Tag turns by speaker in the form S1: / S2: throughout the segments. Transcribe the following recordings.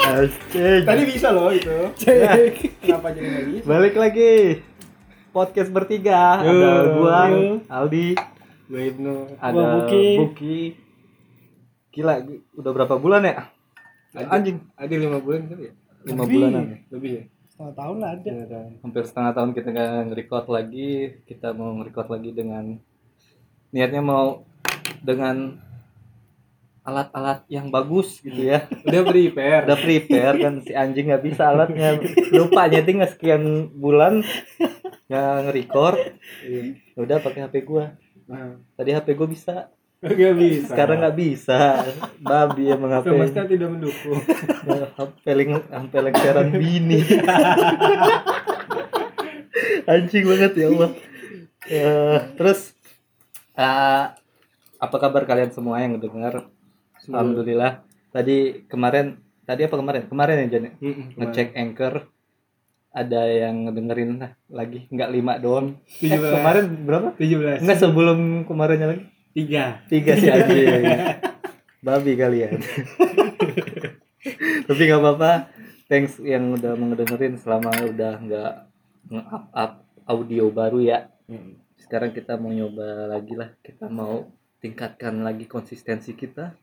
S1: Asik.
S2: Tadi bisa loh itu.
S1: Cek.
S2: Kenapa jadi gitu? nggak bisa?
S1: Balik lagi. Podcast bertiga.
S2: Yo,
S1: ada gua,
S2: yo.
S1: Aldi,
S2: Gue Ibnu.
S1: ada
S2: Buki.
S1: Buki. Gila, udah berapa bulan ya? Anjing,
S2: Ada lima bulan kali ya?
S1: 5
S3: Lebih.
S1: bulanan. ya? Iya, kan.
S2: Lebih ya?
S3: setengah tahun lah ada
S2: Lima tahun.
S1: Hampir setengah tahun kita nggak nge-record lagi. Kita mau nge-record lagi dengan niatnya mau dengan alat-alat yang bagus gitu ya.
S2: Udah prepare.
S1: udah prepare kan si anjing nggak bisa alatnya lupa nyeting nggak sekian bulan nggak nge-record
S2: Iya.
S1: udah pakai HP gua
S2: Nah,
S1: tadi HP gua bisa
S2: Gak bisa.
S3: ya?
S1: sekarang nggak bisa babi emang HP
S3: Kan.
S2: Semesta tidak mendukung.
S1: HP leng HP lengseran bini anjing banget ya Allah Eh, terus eh, apa kabar kalian semua yang dengar Alhamdulillah tadi kemarin tadi apa kemarin kemarin ya Jan ya?
S2: Mm-mm,
S1: ngecek anchor ada yang dengerin lah lagi nggak lima doang eh,
S2: 17.
S1: kemarin berapa
S2: kemarin. 17.
S1: enggak sebelum kemarinnya lagi
S2: Tiga.
S1: tiga sih aja babi kalian tapi nggak apa-apa thanks yang udah mau ngedengerin selama udah nggak nge-up up audio baru ya sekarang kita mau nyoba lagi lah kita mau tingkatkan lagi konsistensi kita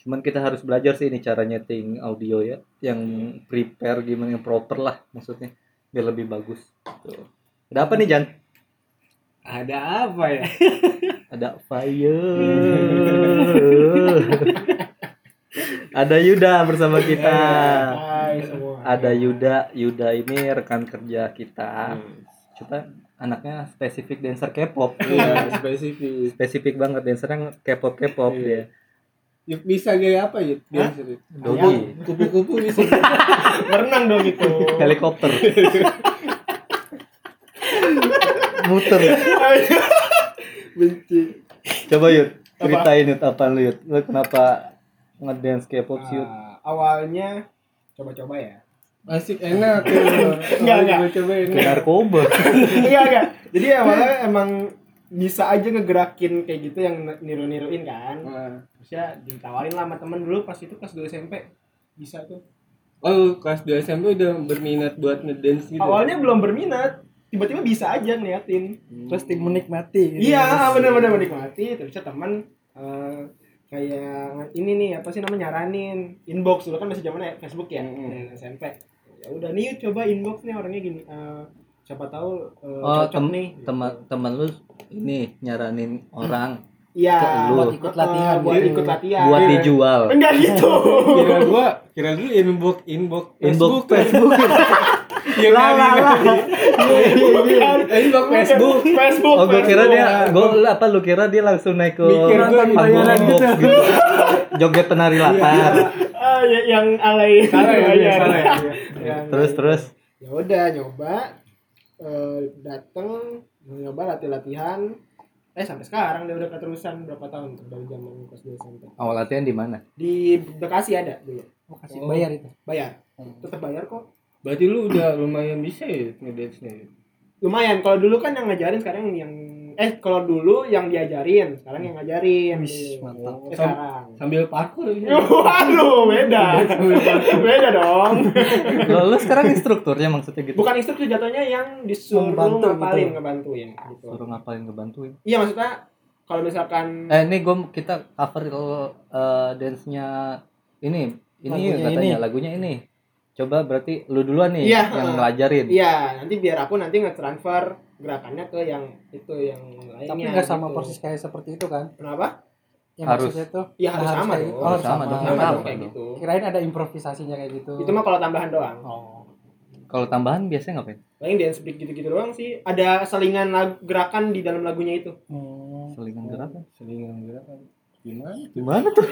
S1: cuman kita harus belajar sih ini cara nyeting audio ya yang prepare gimana yang proper lah maksudnya biar lebih bagus Tuh. ada apa nih Jan
S2: Ada apa ya?
S1: ada fire ada Yuda bersama kita
S2: Eh, Hai semua.
S1: ada Yuda Yuda ini rekan kerja kita kita anaknya spesifik dancer K-pop
S2: Iya, spesifik.
S1: spesifik banget dancernya K-pop K-pop
S2: Iya.
S1: dia
S2: Yuk, bisa gaya apa ya, Yud?
S3: Hah?
S2: Dancer, Yud?
S1: Dogi.
S2: Kupu-kupu bisa.
S3: berenang dong itu
S1: helikopter muter
S2: Benci.
S1: coba yud ceritain yud apa lu yud lu kenapa ngedance K-pop sih yud
S2: Nah,
S3: Ah, awalnya coba-coba ya
S2: Asik enak tuh.
S3: Enggak, enggak.
S2: Coba coba
S1: ke
S2: enak.
S1: narkoba
S3: iya enggak jadi awalnya emang bisa aja ngegerakin kayak gitu yang niru-niruin kan
S2: Wah.
S3: terusnya ditawarin lah sama temen dulu pas itu kelas 2 SMP bisa tuh
S2: Oh, lu kelas 2 SMP udah berminat buat ngedance gitu.
S3: awalnya belum berminat tiba-tiba bisa aja ngeliatin
S4: pasti menikmati gitu.
S3: iya
S2: ah,
S3: bener-bener menikmati terusnya ya temen eh, kayak ini nih apa sih namanya nyaranin inbox dulu kan masih zaman Facebook ya dan
S2: Mm-mm.
S3: SMP ya udah nih yuk coba inbox nih orangnya gini eh, siapa tahu eh,
S1: oh
S3: cocok nih
S1: tem- teman teman lu ini nyaranin orang
S3: Iya,
S1: Ke lu.
S4: Buat ikut latihan.
S3: Eh, buat ikut latihan.
S1: buat
S3: Iya.
S1: dijual
S3: Enggak gitu.
S2: kira gua kira dulu inbox inbox
S1: inbox
S2: Facebook
S1: Facebook
S2: yang
S1: Lah, lah, lah.
S3: Bukan.
S2: inbox
S3: Iya,
S2: Facebook
S3: Facebook, Kan. Facebook.
S1: oh gue kira
S3: Facebook.
S1: dia gue apa lu kira dia langsung naik ke
S2: Mikir gua
S1: panggung
S2: bayaran
S1: inbox gitu joget penari latar
S3: Ah, ya- yang alay.
S2: salah ya dia,
S3: Iya.
S2: salah ya dia.
S3: Yang-
S1: terus terus
S3: Ya udah nyoba eh dateng nyoba latih-latihan eh sampai sekarang dia udah keterusan berapa tahun tuh dari zaman kelas 2 SMP.
S1: awal latihan di mana
S3: Di Bekasi ada dulu.
S4: Oh, kasih
S2: Oh.
S4: bayar itu
S3: Bayar. Tetap bayar kok.
S2: berarti lu udah lumayan bisa ya ngedance nya
S3: Lumayan kalau dulu kan yang ngajarin sekarang yang eh kalau dulu yang diajarin, sekarang yang ngajarin.
S4: Wis, mantap.
S3: Eh, sekarang.
S2: sambil parkur gitu
S3: Waduh, beda. beda dong.
S1: lo lu sekarang instrukturnya maksudnya gitu
S3: Bukan instruktur jatuhnya yang disuruh
S4: Membantu
S3: ngapalin,
S4: gitu.
S3: ngebantuin gitu.
S1: suruh ngapain ngebantuin
S3: Iya, maksudnya kalau misalkan
S1: eh ini gue kita cover eh, dance nya ini ini
S4: Lagunya
S1: katanya
S4: ini.
S1: lagunya ini coba berarti lu duluan nih
S3: Iya,
S1: yang
S3: eh.
S1: ngelajarin
S3: iya, nanti biar aku nanti nge-transfer gerakannya ke yang itu yang lainnya.
S4: tapi nggak sama
S3: gitu.
S4: persis kayak seperti itu kan
S3: Kenapa?
S4: yang
S1: Harus.
S4: maksudnya tuh
S3: Iya, harus,
S4: Nah, harus
S3: sama
S4: kayak-
S3: dong.
S4: oh, harus
S1: sama
S4: sama.
S1: dong
S3: sama
S1: kenapa
S3: dong kayak
S1: dong?
S3: gitu.
S4: kirain ada improvisasinya kayak gitu
S3: Itu mah kalau tambahan doang.
S4: oh
S1: kalau tambahan biasanya ngapain
S3: Paling dance break gitu-gitu doang sih. Ada selingan lag- gerakan di dalam lagunya itu.
S4: Hmm.
S1: selingan gerakan
S2: selingan gerakan gimana
S1: gimana tuh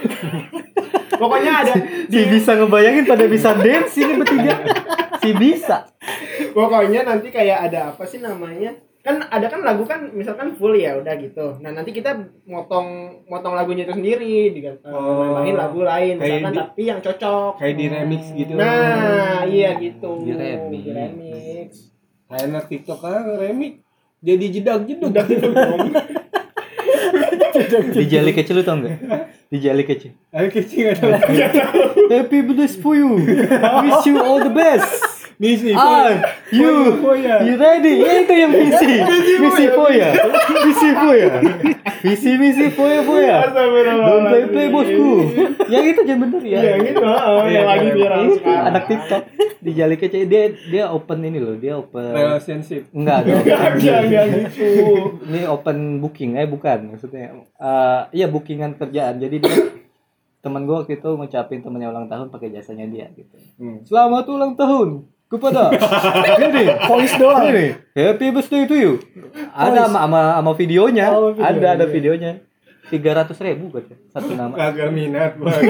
S3: Pokoknya ada
S1: si bisa ngebayangin pada bisa dance ini bertiga si bisa
S3: pokoknya nanti kayak ada apa sih namanya kan ada kan lagu kan misalkan full ya udah gitu nah nanti kita motong motong lagunya itu sendiri diganti
S2: Oh.
S3: nambahin lagu lain
S2: Kayak
S3: misalkan
S2: di-
S3: tapi yang cocok
S2: kayak di remix gitu
S3: nah iya gitu
S1: Di remix.
S3: Di remix.
S2: kayak anak tiktok kan remix jadi jedak jeduk
S1: di jali kecil lu tau nggak Dijali kecil.
S3: Ayo kecil nggak tahu. Nggak tahu.
S1: Happy birthday for you. Wish you all the best.
S3: Misi.
S1: Are you
S3: Foya.
S1: you ready? Ya, itu yang visi. Visi foya. Visi foya. Visi visi foya foya. ya. Don't play play bosku. Yang itu jangan bener ya.
S3: Ya gitu lah,
S2: Iya,
S3: yang lagi
S2: iya.
S3: viral
S1: Itu
S3: sekarang.
S1: anak TikTok dijali kecil dia dia open ini loh, dia open
S2: relationship
S1: enggak dong.
S3: Enggak, enggak, enggak gitu.
S1: ini open booking eh bukan maksudnya eh iya bookingan kerjaan jadi dia teman gue waktu itu ngucapin temennya ulang tahun pakai jasanya dia gitu
S2: Hmm.
S1: selamat ulang tahun kepada ini voice doang ini happy birthday to you ada sama sama, sama videonya
S3: Oh, video,
S1: ada ada
S3: iya.
S1: videonya tiga ratus ribu katanya satu nama
S2: kagak minat banget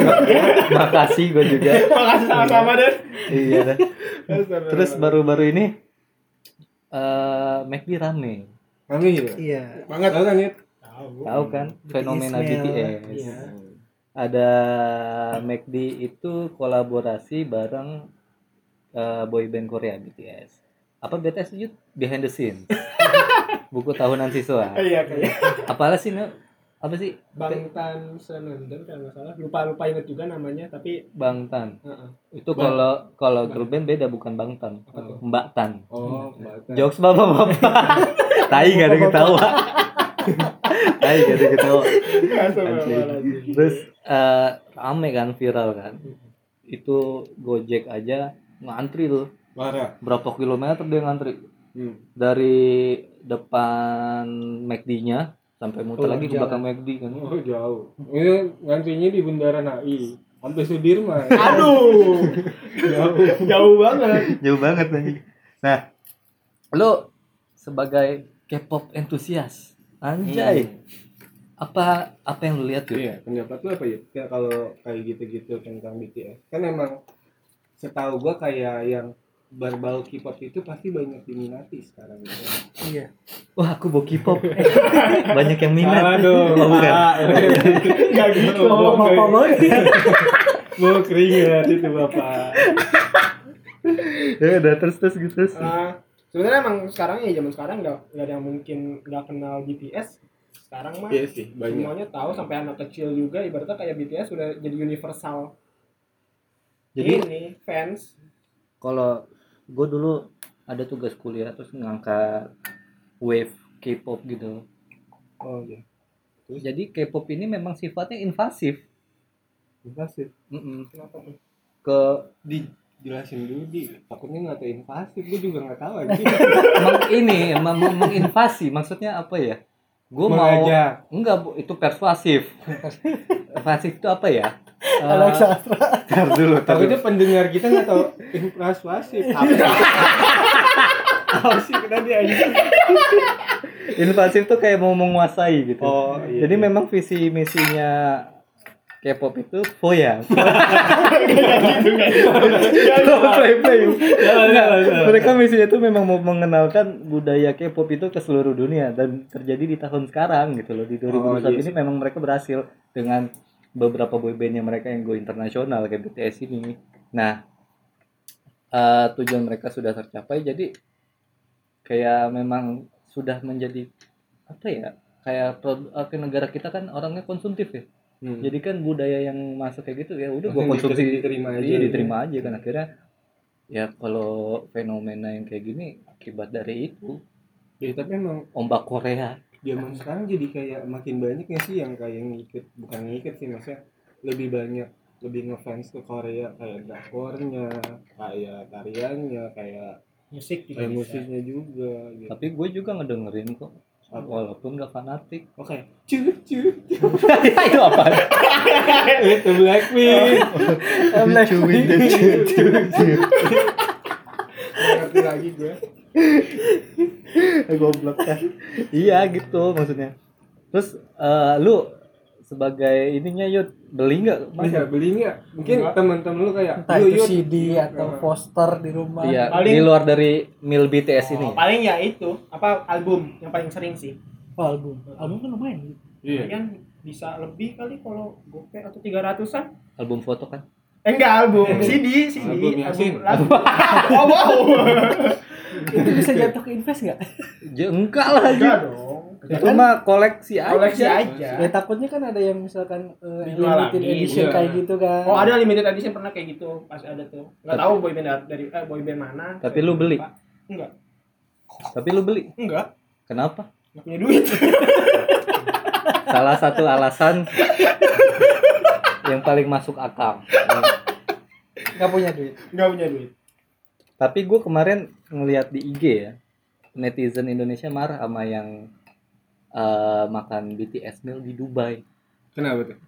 S1: makasih gue juga
S3: Makasih sama-sama deh.
S1: iya dah. terus baru-baru ini eh McD rame
S2: kami ya
S4: Iya.
S2: banget tau kan ya
S3: Tahu.
S1: tahu kan fenomena
S4: Ismail.
S1: BTS
S4: Iya.
S1: ada MACD itu kolaborasi bareng eh, boyband Korea BTS. Apa BTS itu behind the scene? Buku tahunan siswa.
S3: Iya kayak
S1: Apalah sih Nel? apa sih
S3: Bangtan Senenden kalau nggak salah. Lupa lupa inget juga namanya tapi
S1: Bangtan?
S3: heeh.
S1: Itu
S2: Bang-
S1: kalau kalau grup band beda bukan Bangtan.
S3: Apa tuh?
S1: Mbak Tan.
S2: oh batas
S1: Jokes bapak-bapak. tai gak ada yang ketawa. tai gak ada yang ketawa.
S3: Astagfirullahaladzim.
S1: Terus eh rame kan viral kan. Itu Gojek aja ngantri tuh.
S2: parah
S1: Berapa kilometer dia ngantri?
S2: hmm.
S1: dari depan McD-nya sampai muter
S2: Oh,
S1: lagi ke
S2: jalan.
S1: belakang McD kan.
S2: oh jauh ini ngantrinya di bundaran AI sampai Sudirman
S3: Aduh,
S2: jauh
S3: jauh banget.
S1: Jauh banget anjing. Nah, lo sebagai K-pop entusias, anjay. Hmm. Apa apa yang lo lihat tuh?
S2: Iya, pendapat lu apa ya? Kayak kalau kayak gitu-gitu tentang BTS. Kan emang setahu gua kayak yang berbau K-pop itu pasti banyak diminati sekarang. ya.
S4: Iya.
S1: Wah, aku bawa K-pop. Banyak yang minat.
S2: Aduh,
S1: Oh, bukan.
S3: Gak gitu.
S2: Bapak,
S3: Bapak
S2: bapak. Mau keringat itu bapak.
S1: Ya udah terus terus gitu terus.
S3: Eh, Sebenarnya emang sekarang ya zaman sekarang nggak nggak ada yang mungkin nggak kenal BTS. Sekarang mah
S2: Iya sih, banyak.
S3: semuanya tahu sampai anak kecil juga ibaratnya kayak BTS sudah jadi universal.
S1: Jadi
S3: ini fans
S1: kalau gue dulu ada tugas kuliah terus ngangkat wave K-pop gitu.
S2: Oh iya,
S1: Jadi K-pop ini memang sifatnya invasif.
S2: invasif.
S1: Mm-mm.
S3: kenapa tuh?
S1: Ke
S2: Dijelasin dulu di. Takutnya nggak tahu invasif, gua juga nggak tahu aja.
S1: emang ini emang mem- menginvasi maksudnya apa ya gue mau
S2: Mengajak.
S1: enggak Bu, itu persuasif persuasif itu apa ya Eh,
S4: Alexa.
S1: tar dulu tar dulu.
S2: Takutnya pendengar kita nggak tahu invasif. Apa? Apa sih tadi anjing?
S1: invasif tuh kayak mau menguasai gitu
S2: Oh, iya.
S1: jadi memang visi misinya K-pop itu foya
S2: Iya,
S1: play play
S2: iya.
S1: mereka misinya tuh memang mau mengenalkan budaya K-pop itu ke seluruh dunia dan terjadi di tahun sekarang gitu loh di 2021
S2: Oh, iya
S1: ini memang mereka berhasil dengan beberapa boybandnya mereka yang go internasional kayak BTS ini. Nah eh, tujuan mereka sudah tercapai jadi kayak memang sudah menjadi apa ya kayak pro- eh, ke negara kita kan orangnya konsumtif ya.
S2: Hmm.
S1: Jadi kan budaya yang masuk kayak gitu ya udah gua
S2: Maksudnya
S1: konsumsi
S2: diterima aja.
S1: Iya diterima aja kan akhirnya ya kalau fenomena yang kayak gini akibat dari itu
S2: Ya, tapi emang
S1: ombak Korea
S2: zaman sekarang jadi kayak makin banyak ya sih yang kayak ngikut bukan ngikut sih maksudnya lebih banyak lebih ngefans ke Korea kayak drakornya, kayak tariannya, kayak
S3: musik gitu. juga
S2: kayak
S3: bisa.
S2: musiknya juga gitu.
S1: tapi gue juga ngedengerin kok
S2: Apa?
S1: walaupun gak fanatik
S2: Oke, cu cu.
S1: itu apa
S2: Itu Blackpink.
S3: Nggak ngerti lagi gue
S1: goblok kan iya gitu maksudnya terus eh, lu sebagai ininya yud beli nggak
S2: Bisa
S1: Masa?
S2: beli nggak? Mungkin
S3: Enggak.
S2: teman-teman lu kayak
S4: Entah
S2: "Yuk,
S4: itu
S2: yuk."
S4: CD atau
S2: Nah.
S4: poster di rumah.
S1: Iya,
S3: Paling-
S1: di luar dari mil BTS ini.
S3: Oh, paling ya itu apa album yang paling sering sih
S4: Oh, album. Album kan lumayan. gitu.
S2: Iya.
S3: Kalian bisa lebih kali kalau gopay atau 300-an
S1: Album foto kan.
S3: eh enggak album
S2: Eh,
S3: CD CD
S2: album Iya. Yasin.
S3: lagu. oh wow Iya.
S4: Itu bisa jatuh ke invest nggak?
S1: Ya, enggak lah. Yud.
S3: enggak dong Ya
S1: itu
S3: kan?
S1: mah koleksi aja
S3: koleksi
S4: Ya
S3: aja
S4: takutnya kan ada yang misalkan eh,
S3: Dijual
S4: limited
S3: lagi,
S4: edition
S2: iya.
S4: kayak gitu kan.
S3: oh ada limited edition pernah kayak gitu pas ada tuh nggak tahu boy band dari eh, boy band mana
S1: Tapi lu beli?
S3: enggak
S1: tapi lu beli
S3: enggak
S1: kenapa
S3: nggak punya duit
S1: salah satu alasan yang paling masuk akal
S4: Gak punya duit.
S3: nggak punya duit
S1: tapi gue kemarin ngelihat di IG ya netizen Indonesia marah sama yang eh, makan BTS meal di Dubai
S2: Kenapa tuh?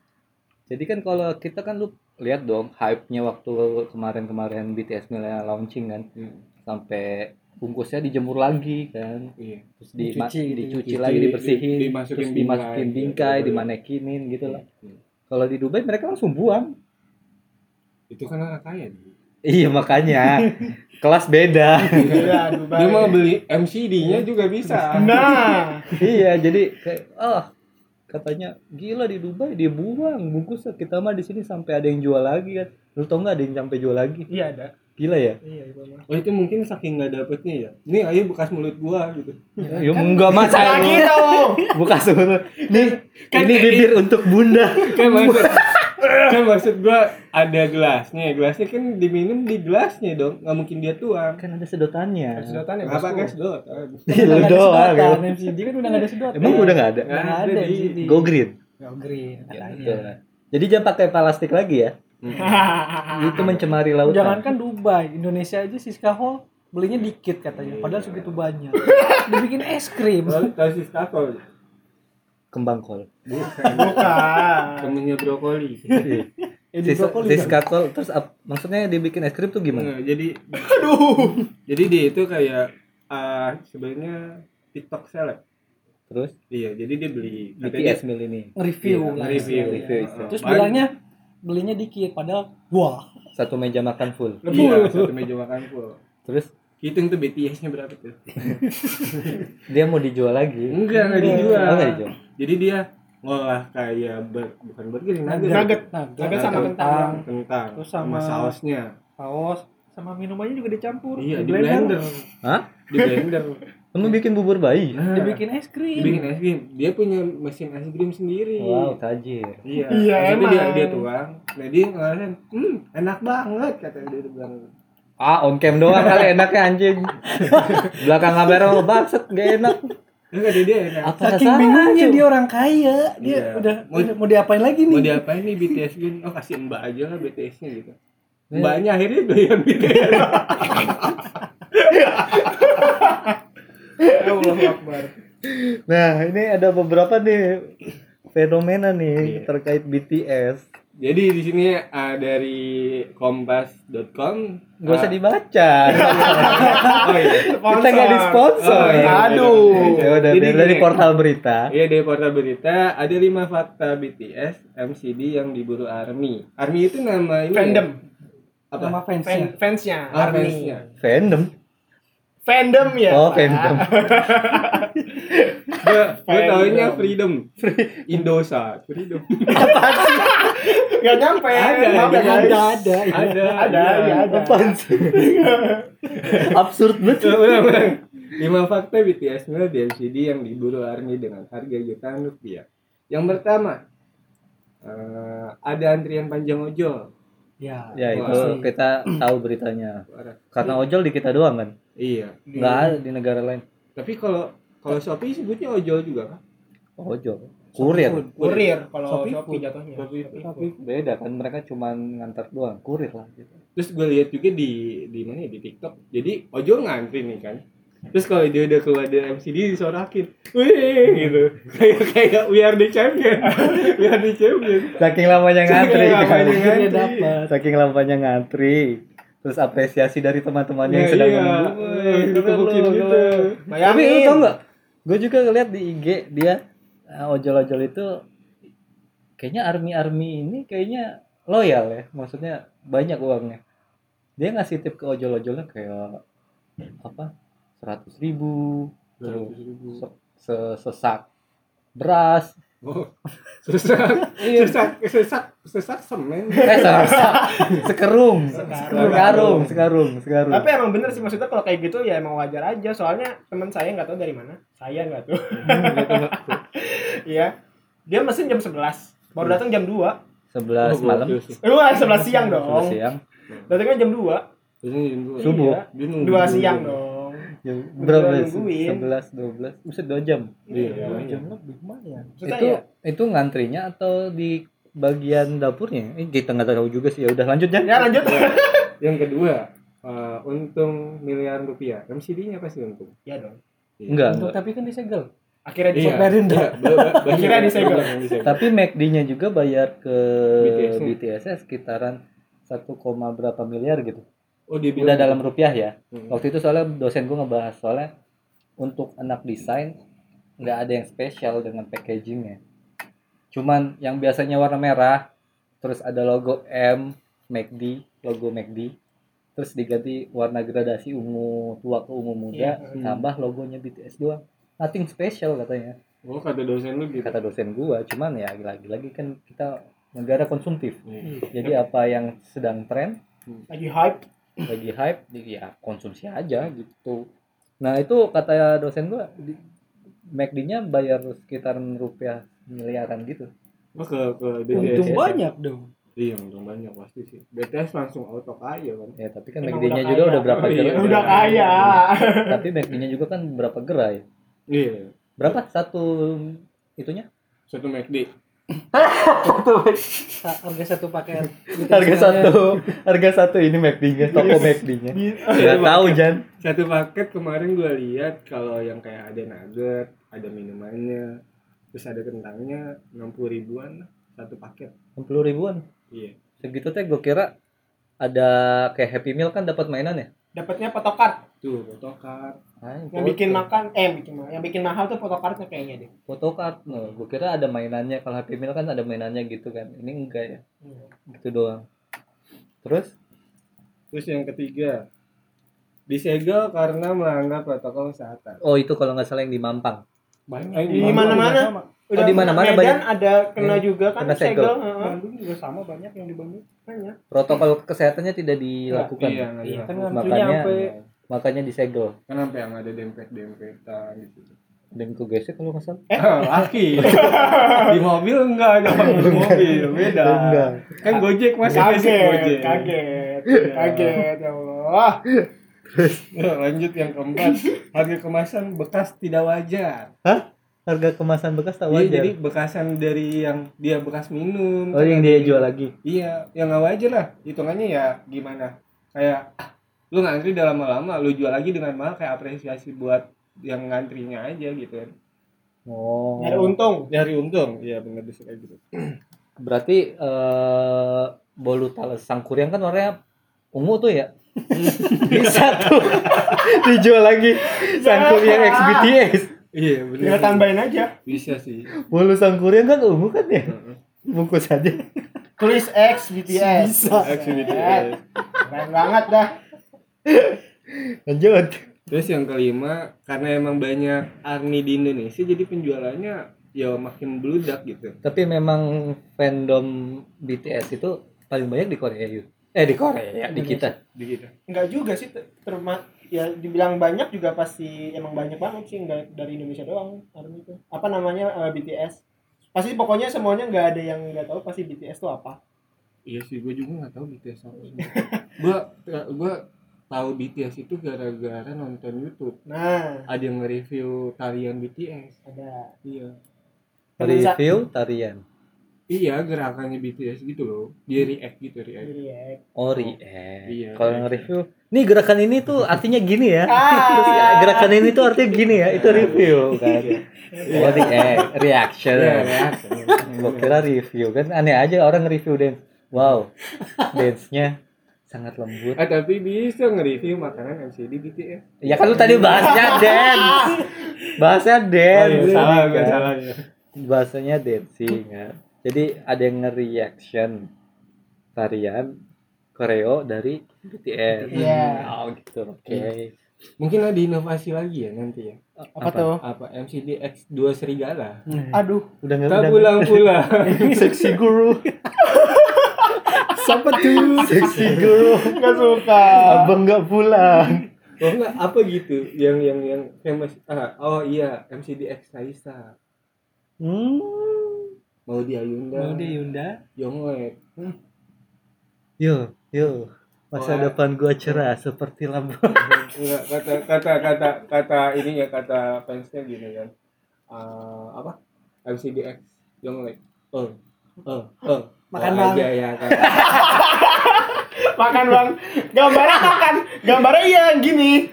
S1: Jadi kan kalau kita kan lu lihat dong hype-nya waktu kemarin-kemarin BTS mulai launching kan
S2: Hmm,
S1: sampai bungkusnya dijemur lagi kan
S2: Iya.
S1: terus di,
S4: Dicuci,
S1: dicuci,
S2: dicuci,
S1: lagi
S2: di-
S1: dibersihin
S2: dimasukin
S1: terus
S2: bingkai,
S1: dimasukin bingkai
S2: gitu.
S1: dimanekinin gitu lah
S2: Hmm.
S1: kalau di Dubai mereka langsung buang
S2: Itu kan orang kaya. Di.
S1: iya makanya kelas beda
S3: Gila, Dubai.
S2: Dia mau beli MCD-nya juga bisa.
S3: nah
S1: iya jadi kayak ah katanya gila di Dubai dibuang bungkusnya kita mah di sini sampai ada yang jual lagi kan lu tau nggak ada yang sampai jual lagi
S3: iya ada
S1: gila ya
S3: iya itu mah
S2: Oh itu mungkin saking nggak dapetnya ya. Ini ayo bekas mulut gua gitu.
S1: ya enggak masa lu-
S3: Salah kita Om.
S1: buka seluruh nih Kan ini bibir untuk bunda
S2: Kan maksud, kan maksud gua ada gelasnya. Gelasnya kan diminum di gelasnya dong. Nggak mungkin dia tuang.
S1: kan ada sedotannya
S3: sedotan ya
S2: Nggak pakai
S3: bosku
S2: sedot. Oh, iya.
S3: Iya,
S1: Ih, Iya, lu
S4: Udah nggak ada
S1: doang
S4: sedotan,
S1: kan.
S4: MCD kan udah gak ada sedotan.
S1: emang udah nggak ada
S4: Nggak ada
S2: Ada di-
S4: MCD.
S1: go green
S4: Go green.
S1: Gitu. jadi jangan pakai plastik lagi ya itu mencemari lautan
S2: kan?
S4: Jangankan Dubai, Indonesia aja Siska Hall belinya dikit katanya. Padahal segitu banyak. Dibikin es krim.
S2: Lalu tahu si Stafel?
S1: kembang kol
S2: Bukan.
S3: bukan
S2: Temennya
S1: Eh,
S2: brokoli.
S1: Iya.
S4: Ya di
S1: Sis-
S4: brokoli kan?
S1: siska kol terus ap- maksudnya dibikin es krim tuh gimana
S2: Nah, jadi Jadi dia itu kayak ah, sebenarnya TikTok seleb.
S1: terus
S2: Iya, jadi dia beli katanya
S1: BTS meal ini
S4: Review.
S2: Iya,
S4: lah.
S2: review.
S1: Review, iya.
S4: Terus
S2: Baru-
S4: bilangnya belinya dikit padahal wah
S1: satu meja makan full
S2: Iya, satu meja makan full.
S1: terus
S2: Hitung tuh BTS-nya berapa tuh?
S1: dia mau dijual lagi
S2: Enggak, enggak
S1: Oh,
S2: Hmm, dijual.
S1: nggak dijual
S2: Jadi dia ngolah kayak ber- bukan burger, nugget.
S3: Nugget.
S4: nah
S3: Agak
S2: sama
S3: kentang.
S2: Kentang
S4: Terus
S2: sama,
S4: sama-
S2: sausnya.
S4: saus sama minumannya juga dicampur
S2: Iya, di blender.
S1: Hah?
S2: Di blender.
S1: Emang bikin bubur bayi?
S2: Nah,
S4: dibikin es krim
S2: dibikin es krim. Dia punya mesin es krim sendiri.
S1: Wow, tajir.
S2: Iya,
S3: Iya,
S2: Maksudnya dia,
S3: emang.
S2: dia tuang. Nah, dia ngalahin, hmm, enak banget kata dia tuh bilang.
S1: Ah, on cam doang kali enaknya anjing. Belakang kamera lo bakset, gak enak.
S2: Enggak, dia, dia enak.
S1: Apa
S4: saking
S1: salah
S4: bingungnya
S1: tuh?
S4: dia orang kaya dia
S2: Iya.
S4: udah
S2: Mau-
S4: udah- mau diapain lagi
S2: Mau
S4: nih
S2: diapain nih BTS gini? Oh, kasih mbak aja lah BTS-nya gitu.
S1: Iya.
S2: Mbaknya akhirnya doyan BTS.
S3: ya Allah Akbar
S1: Nah, ini ada beberapa nih fenomena nih
S2: Iya.
S1: terkait BTS.
S2: Jadi di sini ah, dari kompas.com
S1: Gak usah
S2: ah,
S1: dibaca.
S2: Oh iya.
S1: Kita gak di sponsor.
S2: Oh, iya.
S1: Aduh.
S2: Iya.
S1: Ya udah
S2: Jadi
S1: dari, dari
S2: gini.
S1: portal berita.
S2: Iya dari portal berita ada lima fakta BTS MCD yang diburu ARMY. ARMY itu nama ini ya?
S3: fandom
S2: apa?
S4: sama fansnya
S3: Fan- fansnya
S2: Ah,
S3: Army.
S2: fansnya.
S1: Fandom.
S3: fandom ya
S1: Oh,
S3: Pak.
S1: fandom.
S2: Gue gue taunya
S3: Freedom.
S2: Freedom. Indosat. Freedom.
S3: nggak nyampe
S2: Ada,
S3: Maaf ya,
S2: ada,
S3: guys.
S4: ada ada ya.
S2: ada iya.
S3: ada ya ada
S1: Apaan sih? Absurd banget.
S2: Eh, ulang, ulang. Lima fakta BTS meal di MCD yang diburu ARMY dengan harga jutaan rupiah. Yang pertama, eh, ada antrian panjang ojol.
S4: ya,
S1: Ya itu
S2: Wah.
S1: kita tahu beritanya.
S2: Parah.
S1: Karena ojol di kita doang kan.
S2: Iya.
S1: Enggak ada di negara lain.
S2: Tapi kalau kalau Shopee sebutnya ojol juga kan?
S1: Ojol. Kurir.
S4: Food.
S2: Iya.
S3: kurir kalau
S4: Shopee
S3: Shopee
S4: food.
S3: jatuhnya
S2: Shopee food.
S3: Shopee food.
S1: beda kan mereka cuma ngantar doang kurir lah gitu.
S2: Terus gue lihat juga di di mana ya di TikTok. Jadi ojol ngantri nih kan. Terus kalau dia udah keluar dari MCD disorakin, wih gitu, kayak kayak we are the champion, we are the champion.
S1: saking lamanya ngantri
S2: Saking lamanya
S1: kan.
S4: akhirnya
S2: Ganti.
S4: dapat
S1: saking lamanya ngantri terus apresiasi dari teman-temannya yang sedang
S2: iya,
S1: menunggu.
S2: wih,
S1: Keren
S2: ditepukin
S1: lu,
S2: gitu.
S1: keren. tapi lu tau nggak gue juga ngeliat di IG dia eh, ojol-ojol itu kayaknya army-army ini kayaknya loyal ya maksudnya banyak uangnya dia ngasih tip ke ojol-ojolnya kayak apa seratus ribu terus se- sesak beras
S2: Oh, sesak,
S1: Iya.
S2: sesak, sesak, sesak semen.
S1: Eh, sesak. Sekerung. Sekarung,
S2: Sekarung.
S1: sekarung, sekarung.
S3: Tapi emang bener sih maksudnya kalau kayak gitu ya emang wajar aja. Soalnya teman saya nggak tahu dari mana. Saya nggak tahu. Iya. Dia mesin jam 11. Baru datang jam 2.
S1: Sebelas malam.
S3: Wah, 11 siang
S1: Hmm. Sebelas
S3: dong.
S1: siang.
S3: Datangnya jam 2.
S1: Subuh. Hmm.
S3: Iya. 2 siang dong.
S1: Jam berapa?
S3: nungguin.
S1: Sebelas, dua belas. Buset dua jam.
S2: Iya.
S4: jam lebih lumayan
S3: Maksudnya
S1: itu
S3: ya,
S1: itu ngantrinya atau di bagian dapurnya? Eh, kita nggak tahu juga sih. Ya udah lanjut ya.
S3: ya lanjut.
S2: Nah, Yang kedua, eh, untung miliaran rupiah. MCD-nya pasti untung.
S3: Iya dong.
S1: Enggak. enggak.
S4: Untuk tapi kan disegel
S3: Akhirnya di
S4: Iya. Bayarin dah.
S2: Ba- ba- banyak
S3: Akhirnya
S2: yang
S3: disegel.
S2: banyak yang disegel.
S1: Tapi McD-nya juga bayar ke
S2: BTS -nya.
S1: BTS-nya sekitaran 1, berapa miliar gitu.
S2: Oh, dia
S1: Udah dalam rupiah ya.
S2: Hmm.
S1: Waktu itu soalnya dosen gue ngebahas soalnya untuk anak desain nggak ada yang spesial dengan packagingnya. Cuman yang biasanya warna merah, terus ada logo M, McD, logo McD, terus diganti warna gradasi ungu tua ke ungu muda,
S3: Iya.
S2: Hmm.
S1: tambah logonya BTS doang. Nothing special katanya,
S2: Oh, kata dosen lu gitu.
S1: kata dosen gua. Cuman ya lagi-lagi kan kita negara konsumtif.
S2: Iya.
S1: Jadi apa yang sedang tren
S3: lagi hype.
S1: lagi hype di- ya konsumsi aja gitu nah itu kata dosen gua di, McD-nya bayar sekitaran rupiah miliaran gitu
S2: Oh, ke ke BTS.
S4: untung banyak dong
S2: Iya, untung banyak pasti sih. BTS langsung auto kaya kan.
S1: ya tapi kan
S3: Emang
S1: McD-nya
S3: udah
S1: juga
S3: kaya.
S1: udah berapa
S2: Oh, iya.
S1: gerai
S3: Udah kaya.
S1: tapi McD-nya juga kan berapa gerai
S2: Iya.
S1: berapa satu itunya
S2: Satu McD.
S4: Sa- harga satu paket Gitu
S1: harga satu harga satu ini McD-nya toko McD-nya
S3: Iya.
S1: nggak tahu Jan
S2: Satu paket kemarin gue lihat kalau yang kayak ada nugget, ada minumannya, terus ada kentangnya 60 ribuan lah, satu paket.
S1: enam puluh ribuan
S2: Iya.
S1: segitu teh gua kira ada kayak Happy Meal kan dapat mainan ya
S3: Dapatnya photocard
S2: Tuh, photocard.
S3: yang
S1: Nah,
S3: bikin makan eh yang bikin mahal. Yang bikin mahal tuh photocardnya kayaknya deh.
S1: photocard no. gue kira ada mainannya kalau Happy Meal kan ada mainannya gitu kan ini enggak ya
S3: Iya.
S1: gitu doang terus
S2: Terus yang ketiga, disegel karena melanggar protokol kesehatan.
S1: oh itu kalau nggak salah yang di Mampang
S2: Banyak.
S3: Di mana-mana.
S1: Oh, di mana-mana
S3: Medan
S1: banyak. Hmm.
S3: ada kena juga kan
S1: Kena segel.
S3: segel. heeh.
S2: Bandung juga sama banyak yang di Bandung.
S3: Banyak.
S1: protokol kesehatannya tidak dilakukan
S2: Iya, nggak
S3: Iya,
S2: jelas.
S4: kan
S1: Makanya-
S4: ngantrinya sampai
S1: makanya disegel
S2: Kan sampai yang ada dempet-dempetan gitu. Ah,
S1: dan kegesek kalau nggak salah
S2: laki di mobil enggak jangan di mobil beda
S1: Enggak.
S2: kan gojek masih
S3: Kaget, kaget, kaget ya Allah.
S2: Nah, lanjut yang keempat harga kemasan bekas tidak wajar
S1: harga kemasan bekas tahu
S2: Iya,
S1: aja
S2: jadi bekasan dari yang dia bekas minum
S1: oh yang dia jual lagi
S2: iya yang nggak wajar lah hitungannya ya gimana kayak ah, lu ngantri udah lama-lama lu jual lagi dengan mahal kayak apresiasi buat yang ngantrinya aja gitu kan
S1: oh
S2: Ya,
S3: Nyari untung.
S2: nyari untung iya bener bisa kayak gitu
S1: berarti eh bolu talas sangkuriang kan warnanya ungu tuh ya bisa tuh dijual lagi sangkuriang
S3: Ya.
S1: XBTS
S2: iya bener
S3: Tinggal tambahin aja.
S2: bisa sih
S1: bolu sangkuriang kan ungu kan ya
S2: Heeh.
S1: bungkus aja
S3: Chris X BTS.
S4: Bisa.
S2: Activity.
S3: Eh, Keren banget dah.
S1: lanjut
S2: Terus yang kelima, karena emang banyak army di Indonesia, jadi penjualannya ya makin beludak gitu.
S1: tapi memang fandom BTS itu paling banyak di Korea yuk eh di Korea di kita
S2: Di kita.
S3: Enggak juga sih ter- terma ya dibilang banyak juga pasti emang banyak banget sih enggak dari Indonesia doang army itu. Apa namanya eh, BTS? Pasti pokoknya semuanya enggak ada yang enggak tahu pasti BTS itu apa.
S2: Iya sih, gue juga nggak tahu BTS apa sih. gue gue tahu BTS itu gara-gara nonton YouTube.
S3: Nah,
S2: Ada yang nge-review tarian BTS.
S3: ada
S2: Iya.
S3: Bisa.
S1: review tarian
S2: Iya, gerakannya BTS gitu loh. Dia react gitu, react.
S3: diri ya.
S1: oh react
S2: Iya.
S1: kalau nge-review nih gerakan ini tuh artinya gini ya Terus ya,
S3: Ah.
S1: gerakan ini tuh artinya gini ya itu review kan
S2: Iya.
S1: oh react reaction
S2: Iya, react.
S1: Gua kira review kan aneh aja orang nge-review dance wow dance-nya sangat lembut
S2: Ah, tapi bisa nge-review makanan MCD BTS.
S1: ya kan lu tadi bahasnya dance bahasnya dance
S2: Oh, iya, salah,
S1: Kan?
S2: gak salah ya.
S1: bahasanya dancing ya. Jadi ada yang nge-reaction tarian koreo dari BTS.
S3: Iya.
S1: Oh gitu. Oke.
S2: Mungkin ada inovasi lagi ya nanti ya.
S3: Apa,
S1: Apa?
S3: tuh?
S2: apa MCD X dua serigala
S3: Aduh,
S1: Udah nggak udah
S2: tak
S1: nggak.
S2: pulang pulang
S1: Seksi guru.
S4: Siapa tuh?
S1: Seksi guru.
S3: nggak suka.
S1: Abang nggak pulang.
S2: oh enggak apa gitu yang yang yang famous ah, oh iya MCD X Raisa
S4: Hmm.
S2: mau dia Yunda
S4: Mau deh Yunda.
S2: Yonglek
S1: Yo, yo. Masa
S2: Wah.
S1: depan gua cerah seperti lampu.
S2: Enggak, Iya, kata kata kata kata ininya kata fansnya gini kan. Eh, apa? MCDX Yonglek. Oh. Oh, oh. Oh,
S4: Makan bang.
S2: aja ya kan.
S3: Makan bang, gambarnya makan, gambarnya iya gini.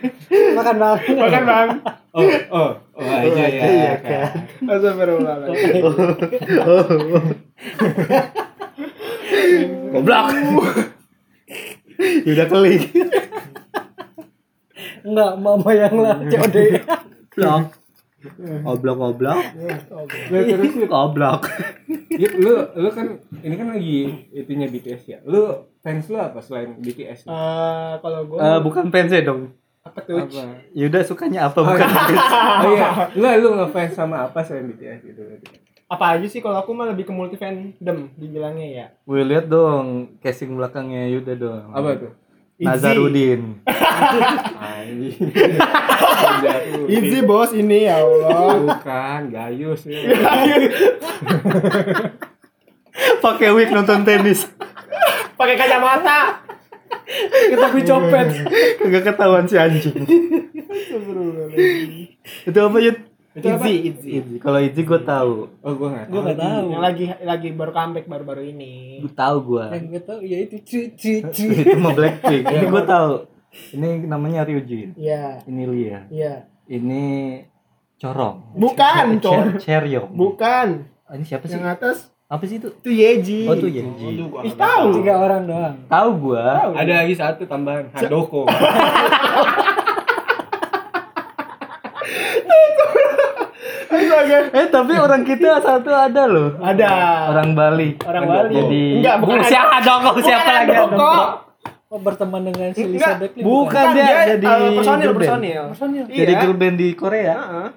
S4: Makan bang.
S3: Makan bang.
S2: Oh, oh, oh aja ya.
S1: Iya,
S2: kan.
S3: Astagfirullahaladzim.
S1: Oh. Goblok. Udah keling.
S4: Enggak, mama yang lah COD.
S1: Blok. Oblok oblok.
S3: Oh, gitu.
S2: Nah, terus lu,
S1: Oblok.
S2: ya, lu lu kan ini kan lagi itunya BTS ya. Lu fans lu apa selain BTS? Apa?
S3: Eh, kalau gue
S1: Eh, bukan fans ya dong.
S3: apa tuh?
S1: Yuda sukanya apa
S2: Oh,
S1: bukan?
S2: iya. oh iya, lu lu ngefans sama apa selain BTS gitu?
S3: Apa aja sih kalau aku mah lebih ke multi fandom dibilangnya ya.
S1: Gue lihat dong casing belakangnya Yuda dong.
S2: Apa tuh?
S1: Nazarudin.
S2: Anjing.
S3: Izzy bos ini ya Allah.
S2: Bukan, Gayus. Ya.
S1: Pakai wig nonton tenis.
S3: Pakai kacamata.
S4: Ketahui
S1: Iya.
S4: copet.
S1: Kagak ketahuan si anjing. Itu apa Yud?
S2: Itu apa?
S3: Izzy, Izzy.
S1: Izzy. Kalau Izzy gue tahu.
S2: Oh, gua enggak
S4: Gue
S1: Iya.
S4: gak tahu.
S3: Yang lagi lagi baru comeback baru-baru ini.
S1: Gue tahu gue.
S4: Yang gak tahu ya itu cu cu cu.
S1: Itu mah Blackpink. Ini gue tahu. Ini namanya Ryujin.
S3: Iya,
S1: Ini Lia.
S3: iya.
S1: Ini Corong.
S3: Bukan, Cor.
S1: Cher- Cheryong.
S3: Bukan.
S1: Ini siapa sih?
S3: Yang atas
S1: Apa sih itu?
S3: itu Yeji.
S1: Oh itu Yeji.
S3: Ih, tahu.
S4: Tiga orang doang.
S1: Tahu gue.
S2: Ada lagi satu tambahan, Handoko.
S3: Astaga.
S1: Eh tapi orang kita satu ada loh.
S3: Ada.
S1: Orang Bali.
S3: Orang
S1: Enggak,
S3: Bali.
S1: Jadi
S3: Enggak, bukan
S1: Bu,
S3: ada-
S1: siapa dong? Kok siapa lagi?
S3: Bukan
S1: Dong?
S3: Handoko.
S4: Oh berteman dengan si
S3: Enggak,
S4: Lisa Beckley
S1: bukan.
S3: Bukan,
S1: dia
S3: dia,
S1: jadi
S3: eh, personil,
S1: girl band.
S3: personil.
S4: Personil.
S3: Iya.
S1: Jadi girl band di Korea.
S3: Heeh.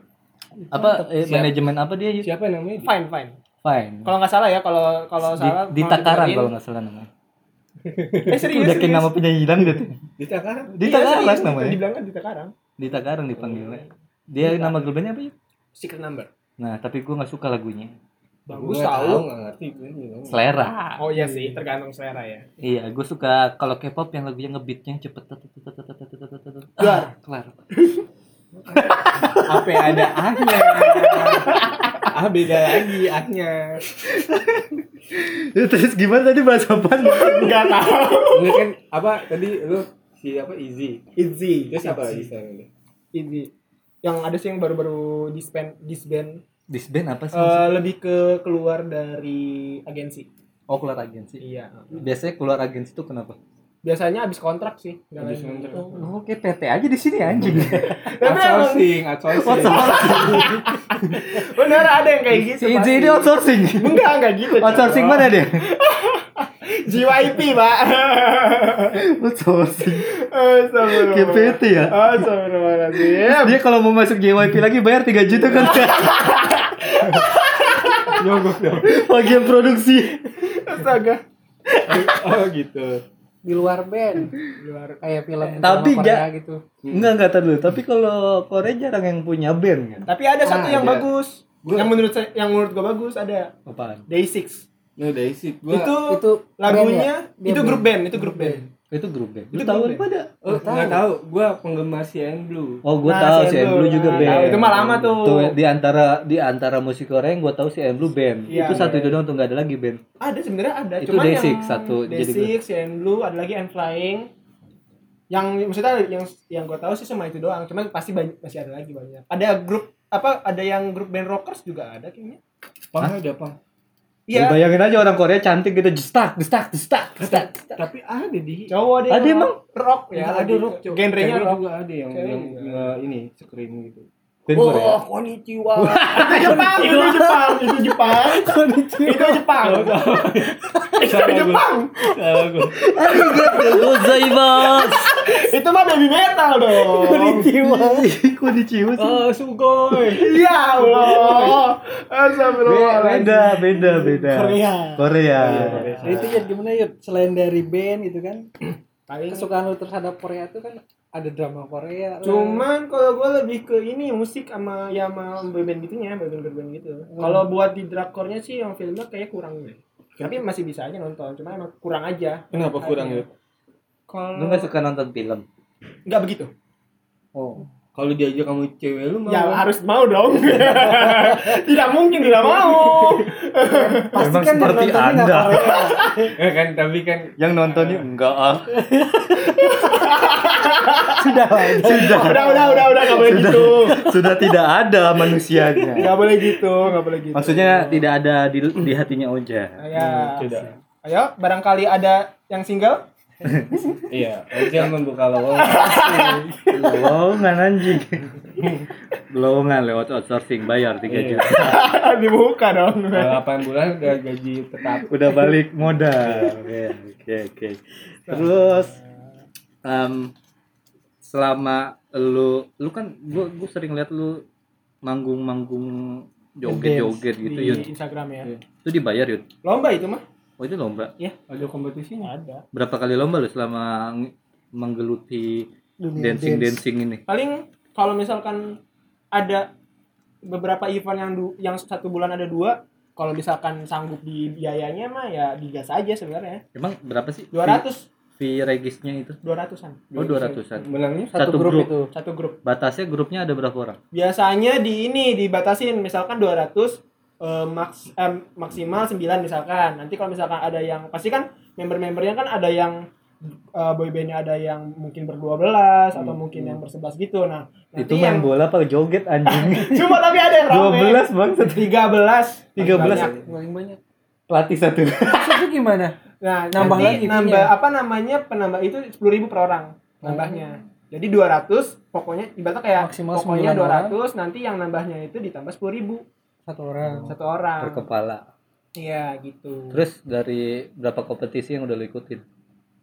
S1: Apa eh,
S2: Siap.
S1: manajemen apa dia? Yud?
S2: Siapa namanya?
S3: Fine, fine.
S1: Fine.
S3: Kalau nggak salah ya, kalau kalau
S1: Di,
S3: salah
S1: di
S3: mau
S1: Takaran
S3: dibenerin.
S1: kalau nggak salah namanya.
S3: Eh serius.
S1: Udah kayak
S3: serius.
S1: nama penyanyi hilang gitu.
S2: Dita Karang.
S1: Di
S3: Iya,
S1: Takaran
S3: serius,
S1: namanya.
S3: Dibilang kan di Takaran.
S1: Di Takaran dipanggilnya. Dia nama girl bandnya apa ya?
S3: Secret number.
S1: Nah tapi gue nggak suka lagunya.
S3: Bagus
S2: Gua nggak
S3: tahu.
S2: nggak ngerti gue juga.
S1: Selera.
S3: Oh iya sih, tergantung selera ya.
S1: Iya, gue suka kalau K-pop yang lagunya ngebeatnya yang cepet. tut, tut, tut, tut, tut, tut, tut, tut. Ah, Kelar.
S2: Apa yang ada ahnya? ah beda lagi ahnya.
S1: Ya, Terus gimana tadi bahas apa?
S3: Enggak tahu.
S2: Ini kan apa tadi lu si apa Izzy.
S3: Izzy.
S2: Terus apa lagi sekarang ini?
S3: Izzy. Yang ada sih yang baru-baru disband disband
S1: Disband apa sih?
S3: Eh, lebih ke keluar dari agensi.
S1: oh keluar agensi.
S3: Iya.
S1: Biasanya keluar agensi itu kenapa?
S3: Biasanya habis kontrak sih. nggak
S2: Habis
S3: lanjut.
S2: kontrak.
S1: Oh, oke PT aja di sini anjing.
S2: Outsourcing, outsourcing.
S3: Bener ada yang kayak gitu.
S1: si Izzy
S3: pasti.
S1: ini outsourcing.
S3: Enggak, enggak gitu. Cok.
S1: Outsourcing mana dia?
S3: JYP, Pak.
S1: outsourcing.
S3: Astagfirullah.
S1: Kayak PT ya?
S3: Astagfirullahaladzim.
S1: Dia kalau mau masuk JYP lagi bayar 3 juta kan.
S2: Nyogok dong.
S1: Bagian produksi.
S3: Astaga.
S2: Oh gitu.
S4: Di luar band.
S3: Luar.
S4: Kayak film
S1: Tapi
S4: drama
S1: ja-
S4: Korea gitu.
S1: Enggak enggak tar dulu. Tapi kalau Korea jarang yang punya band kan.
S3: Tapi ada satu
S2: Ah,
S3: yang
S2: ada.
S3: bagus.
S2: Gua-
S3: Yang menurut saya, yang menurut gue bagus ada
S1: Apaan?
S3: Day Six.
S2: Nah, dari situ gua
S3: Itu,
S4: itu
S3: lagunya
S4: band ya? Dia
S3: itu grup band, itu grup band.
S1: Itu grup band. Lu
S3: Itu
S1: tahu
S3: grup
S1: apa ada?
S2: Oh, nggak tahu, gua penggemar CN Blue.
S1: Oh, gue
S3: Nah,
S1: tahu
S3: si
S1: si
S3: Andrew.
S1: Andrew juga
S3: Nah,
S1: band.
S3: tahu. Itu mah lama tuh.
S1: di antara di antara musik Korea yang gue tahu si Andrew band.
S3: Iya,
S1: itu satu
S3: iya.
S1: itu doang tuh nggak ada lagi band.
S3: Ada sebenarnya ada,
S1: Itu
S3: cuman
S1: Day
S3: yang
S1: Six, satu,
S3: Day
S1: jadi
S3: Six, yang Blue, ada lagi And Flying. Yang maksudnya yang yang gue tahu sih cuma itu doang, cuman pasti banyak, masih ada lagi banyak. Ada grup apa ada yang grup band rockers juga ada kayaknya.
S2: Pang ada pang.
S1: Lu
S3: Iya,
S1: Bayangin aja orang Korea cantik gitu destak destak destak destak.
S2: Tapi ada di
S3: cowok deh.
S1: Ada emang?
S3: rock ya,
S2: ada rock
S3: Genrenya
S2: Cewek
S3: rock.
S2: juga ada yang
S3: Cewek
S2: yang
S3: juga.
S2: eh, ini screen gitu Dan
S4: oh,
S2: Korea.
S1: Wah, konnichiwa.
S3: Itu Ah, Jepang, itu Jepang, itu Jepang, itu Jepang, itu
S2: Salah gua.
S3: Jepang.
S2: Salah gua.
S1: Arigatou gozaimasu.
S3: Itu mah baby metal dong.
S1: Konnichiwa sih.
S3: Oh,
S4: Ah, sugoi.
S3: Ya Allah.
S1: Beda,
S3: Astagfirullahaladzim.
S1: beda, beda.
S4: Korea.
S1: Korea.
S2: Iya,
S4: Nah, itu ya gimana ya selain dari band itu kan
S3: Paling
S4: kesukaan lu terhadap Korea itu kan ada drama Korea. lah.
S3: Cuman kalau gue lebih ke ini musik sama ya sama band gitunya, band band gitu. Kalau buat di drakornya sih yang filmnya kayak kurang deh. Tapi masih bisa aja nonton, cuma emang kurang aja.
S2: Kenapa kurang ya?
S1: Lu
S3: Kalau
S1: nggak suka nonton film?
S3: nggak begitu.
S1: Oh.
S2: Kalau diajak kamu cewek lu mau.
S3: Ya harus mau dong. tidak mungkin tidak mau.
S4: pasti
S1: Memang
S4: kan yang
S1: seperti
S4: nontonnya nggak
S1: Anda.
S4: Korea.
S2: Eh, kan tapi kan
S1: Yang nontonnya enggak ah.
S4: Sudah lah.
S1: Sudah,
S3: Udah udah udah udah nggak boleh gitu.
S1: sudah tidak ada manusianya.
S3: Nggak boleh gitu, nggak boleh gitu.
S1: Maksudnya tidak ada di, di hatinya Oja.
S3: Ya.
S2: tidak.
S3: Ayo, barangkali ada yang single.
S2: Iya, Oja membuka lowongan.
S1: Lowongan anjing. Lowongan lewat outsourcing bayar 3 juta.
S3: Dibuka dong.
S2: Kalau 8 bulan udah gaji tetap.
S1: Udah balik modal. Oke, oke, oke. Terus em, selama lu lu kan gua, gua sering lihat lu manggung-manggung joget-joget gitu
S3: di
S1: Yud.
S3: Instagram ya.
S1: Itu dibayar Yud.
S3: Lomba itu mah?
S1: Oh itu lomba.
S2: Ada kompetisinya.
S3: Ada.
S1: Berapa kali lomba lu selama ng- menggeluti
S4: Dunia dance.
S1: dancing-dancing ini?
S3: Paling kalau misalkan ada beberapa event yang du- yang satu bulan ada dua, kalau misalkan sanggup di biayanya mah ya digas aja sebenarnya.
S1: Emang berapa sih?
S3: 200
S1: Fee regisnya itu?
S3: 200-an
S1: Oh 200-an.
S2: Menangnya
S1: Satu grup.
S4: itu.
S3: satu grup.
S1: Batasnya grupnya ada berapa orang?
S3: Biasanya di ini dibatasin misalkan 200 eh, maks eh, maksimal 9 misalkan. Nanti kalau misalkan ada yang pasti kan member-membernya kan ada yang eh, boybandnya ada yang mungkin berdua belas atau mungkin yang bersebelas gitu. Nah, nanti
S1: itu main
S3: yang
S1: bola apa joget anjing?
S3: cuma tapi ada yang rame.
S1: 12 bang
S3: 13
S1: 13.
S3: Banyak.
S4: Paling banyak.
S1: pelatih satu.
S4: Itu gimana?
S3: Nah,
S4: Nambah
S3: nanti
S4: lagi
S3: nambah
S4: fee-nya.
S3: apa namanya? Penambah itu 10.000 per orang nambahnya. Jadi 200 pokoknya ibaratnya kayak
S4: Maksimal
S3: pokoknya 200
S4: sembilan orang.
S3: nanti yang nambahnya itu ditambah 10.000
S4: Satu orang.
S3: satu orang.
S1: Per kepala.
S3: Iya, gitu.
S1: Terus dari berapa kompetisi yang udah lu ikutin?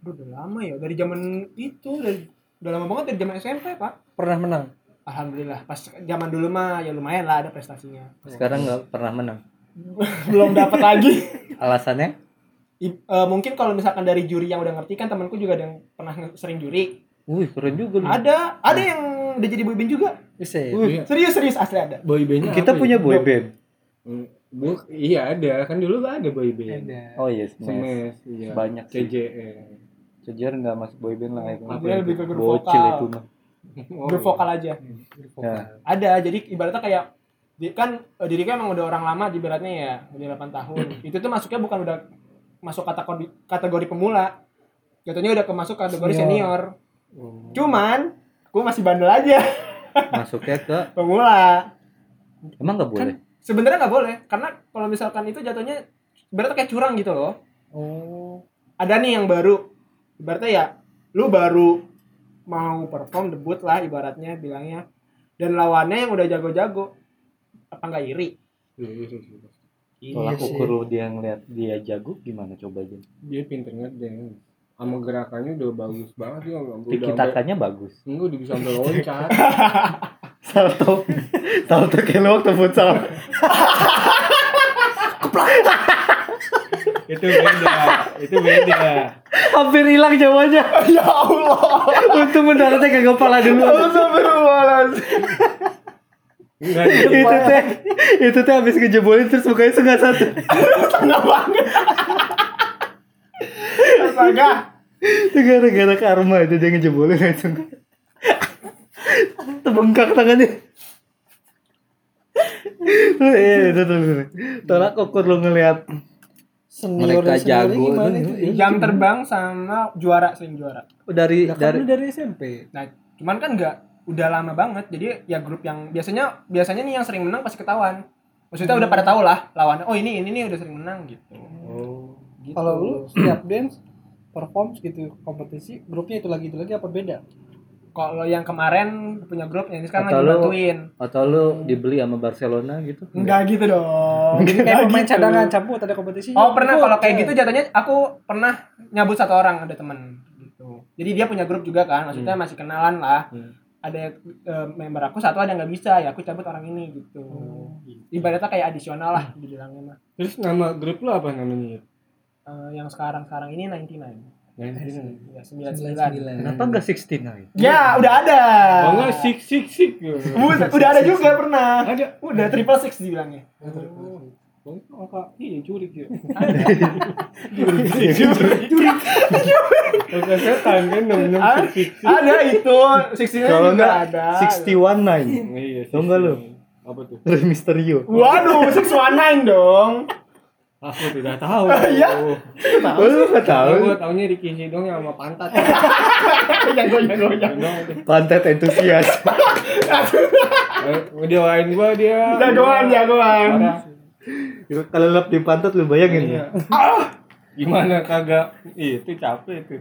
S3: Aduh, udah lama ya dari zaman itu dari udah lama banget dari zaman SMP, Pak.
S4: Pernah menang.
S3: Alhamdulillah pas zaman dulu mah ya lumayan lah ada prestasinya.
S1: Sekarang nggak pernah menang.
S3: Belum dapat lagi.
S1: Alasannya?
S3: I- eh, mungkin kalau misalkan dari juri yang udah ngerti kan temanku juga ada yang pernah nge- sering juri.
S1: Wih keren juga lu.
S3: Ada, ada yang udah jadi boyband juga.
S4: Bisa
S1: Iya,
S4: ya?
S2: Wih,
S3: Serius serius asli ada.
S2: boy bandnya
S1: Kita
S2: apa
S1: punya
S2: ya?
S1: boy band.
S2: Hmm, Bu, iya ada kan dulu gak ada boy band.
S4: Ada.
S1: Oh yes, mas.
S2: Smash, iya.
S1: Banyak sih.
S2: CJN.
S1: Sejujurnya nggak masuk boy band lah ya.
S3: Dia lebih ke grup
S1: Bocil
S3: vokal.
S1: itu mah.
S2: Oh,
S3: grup vokal aja.
S1: Ya.
S3: Ada, jadi ibaratnya kayak di- kan eh, diriku emang udah orang lama di beratnya ya, udah 8 tahun. Itu tuh masuknya bukan udah masuk kategori kategori pemula. Jatuhnya udah kemasuk kategori senior. Hmm.
S4: Senior.
S2: Oh.
S3: Cuman gue masih bandel aja
S1: Masuknya ke
S3: pemula.
S1: emang nggak
S3: Kan
S1: boleh.
S3: Sebenarnya nggak boleh karena kalau misalkan itu jatuhnya ibaratnya kayak curang gitu loh.
S4: Oh.
S3: ada nih yang baru ibaratnya ya lu baru mau perform debut lah ibaratnya bilangnya dan lawannya yang udah jago-jago apa nggak iri
S2: Iya, iya, iya.
S1: Tolak
S4: Iya sih.
S1: ukur lu dia ngeliat dia jago gimana coba aja.
S2: Dia pinter ngedance. Sama gerakannya udah bagus banget ya.
S1: Tiki takanya bagus.
S2: Enggak udah bisa sampai loncat.
S1: Salto. Salto kayak lu waktu futsal.
S2: itu beda, itu beda.
S1: Hampir hilang jawabannya.
S3: ya Allah
S1: Untung mendaratnya ke kepala dulu.
S2: Enggak,
S1: itu teh itu teh habis ngejebolin terus mukanya setengah satu.
S3: astaga
S1: Itu gara-gara karma itu dia ngejebolin langsung. Terbengkak tangannya. Iya, itu tuh. Tolak ukur lu ngelihat
S4: Senior
S1: Mereka
S4: seniornya
S1: jago.
S4: gimana itu? Ya,
S3: jam terbang sama juara sering juara
S1: dari
S4: Lah, kan
S1: dari
S4: lu dari SMP.
S3: nah cuman kan nggak udah lama banget jadi ya grup yang biasanya biasanya nih yang sering menang pasti ketahuan maksudnya udah pada tahu lah lawannya oh ini ini nih udah sering menang gitu
S2: Oh, gitu.
S4: Kalau lu setiap dance perform gitu kompetisi grupnya itu lagi itu lagi apa beda? Kalau yang kemarin punya grup, yang ini sekarang
S1: Atau
S4: lagi
S1: lu-
S4: bantuin.
S1: Atau lu dibeli sama Barcelona gitu?
S5: Enggak gitu dong.
S4: Jadi kayak
S5: Enggak
S4: pemain
S5: gitu.
S4: cadangan cabut ada kompetisi.
S3: Oh pernah kalau kayak gitu jatuhnya aku pernah nyabut satu orang ada temen gitu. Jadi dia punya grup juga kan, maksudnya masih kenalan lah.
S2: Hmm.
S3: Ada eh, member aku satu ada yang nggak bisa ya aku cabut orang ini gitu. Ibaratnya kayak adisional lah dibilangnya mah.
S2: Terus nama grup lu apa namanya?
S3: Eh, yang sekarang sekarang ini 99
S2: Nah, ini.
S3: ya 99.
S4: 99.
S1: Kenapa enggak 69?
S3: Ya udah ada.
S2: Oh enggak sik sik sik.
S3: Buset, udah ada juga pernah.
S2: Ada.
S3: Udah triple six dibilangnya.
S2: Oh, oh, Kak. iya jurik ya. Ada. Jurik. setan kan enam enam
S3: Ah,
S2: sik sik. sik.
S3: Ada itu, 69
S1: Kalau
S3: juga
S1: enggak
S3: ada.
S1: 619.
S2: Iya. sik,
S1: Tau nggak lu?
S2: sik. Apa tuh?
S1: Terus Misterio.
S3: Waduh, 619 dong.
S2: Aku tidak tahu.
S3: Iya.
S1: Oh, lu enggak tahu.
S2: Gue taunya Ricky Sidong yang sama pantat.
S3: yang goyang-goyang.
S2: Sidong.
S1: Pantat entusias.
S2: Eh, Ngedoain gua dia.
S3: Jagoan, jagoan.
S2: Parah.
S1: Itu Kalau lap di pantat lu bayangin.
S2: Gimana kagak? Ih, Itu capek itu.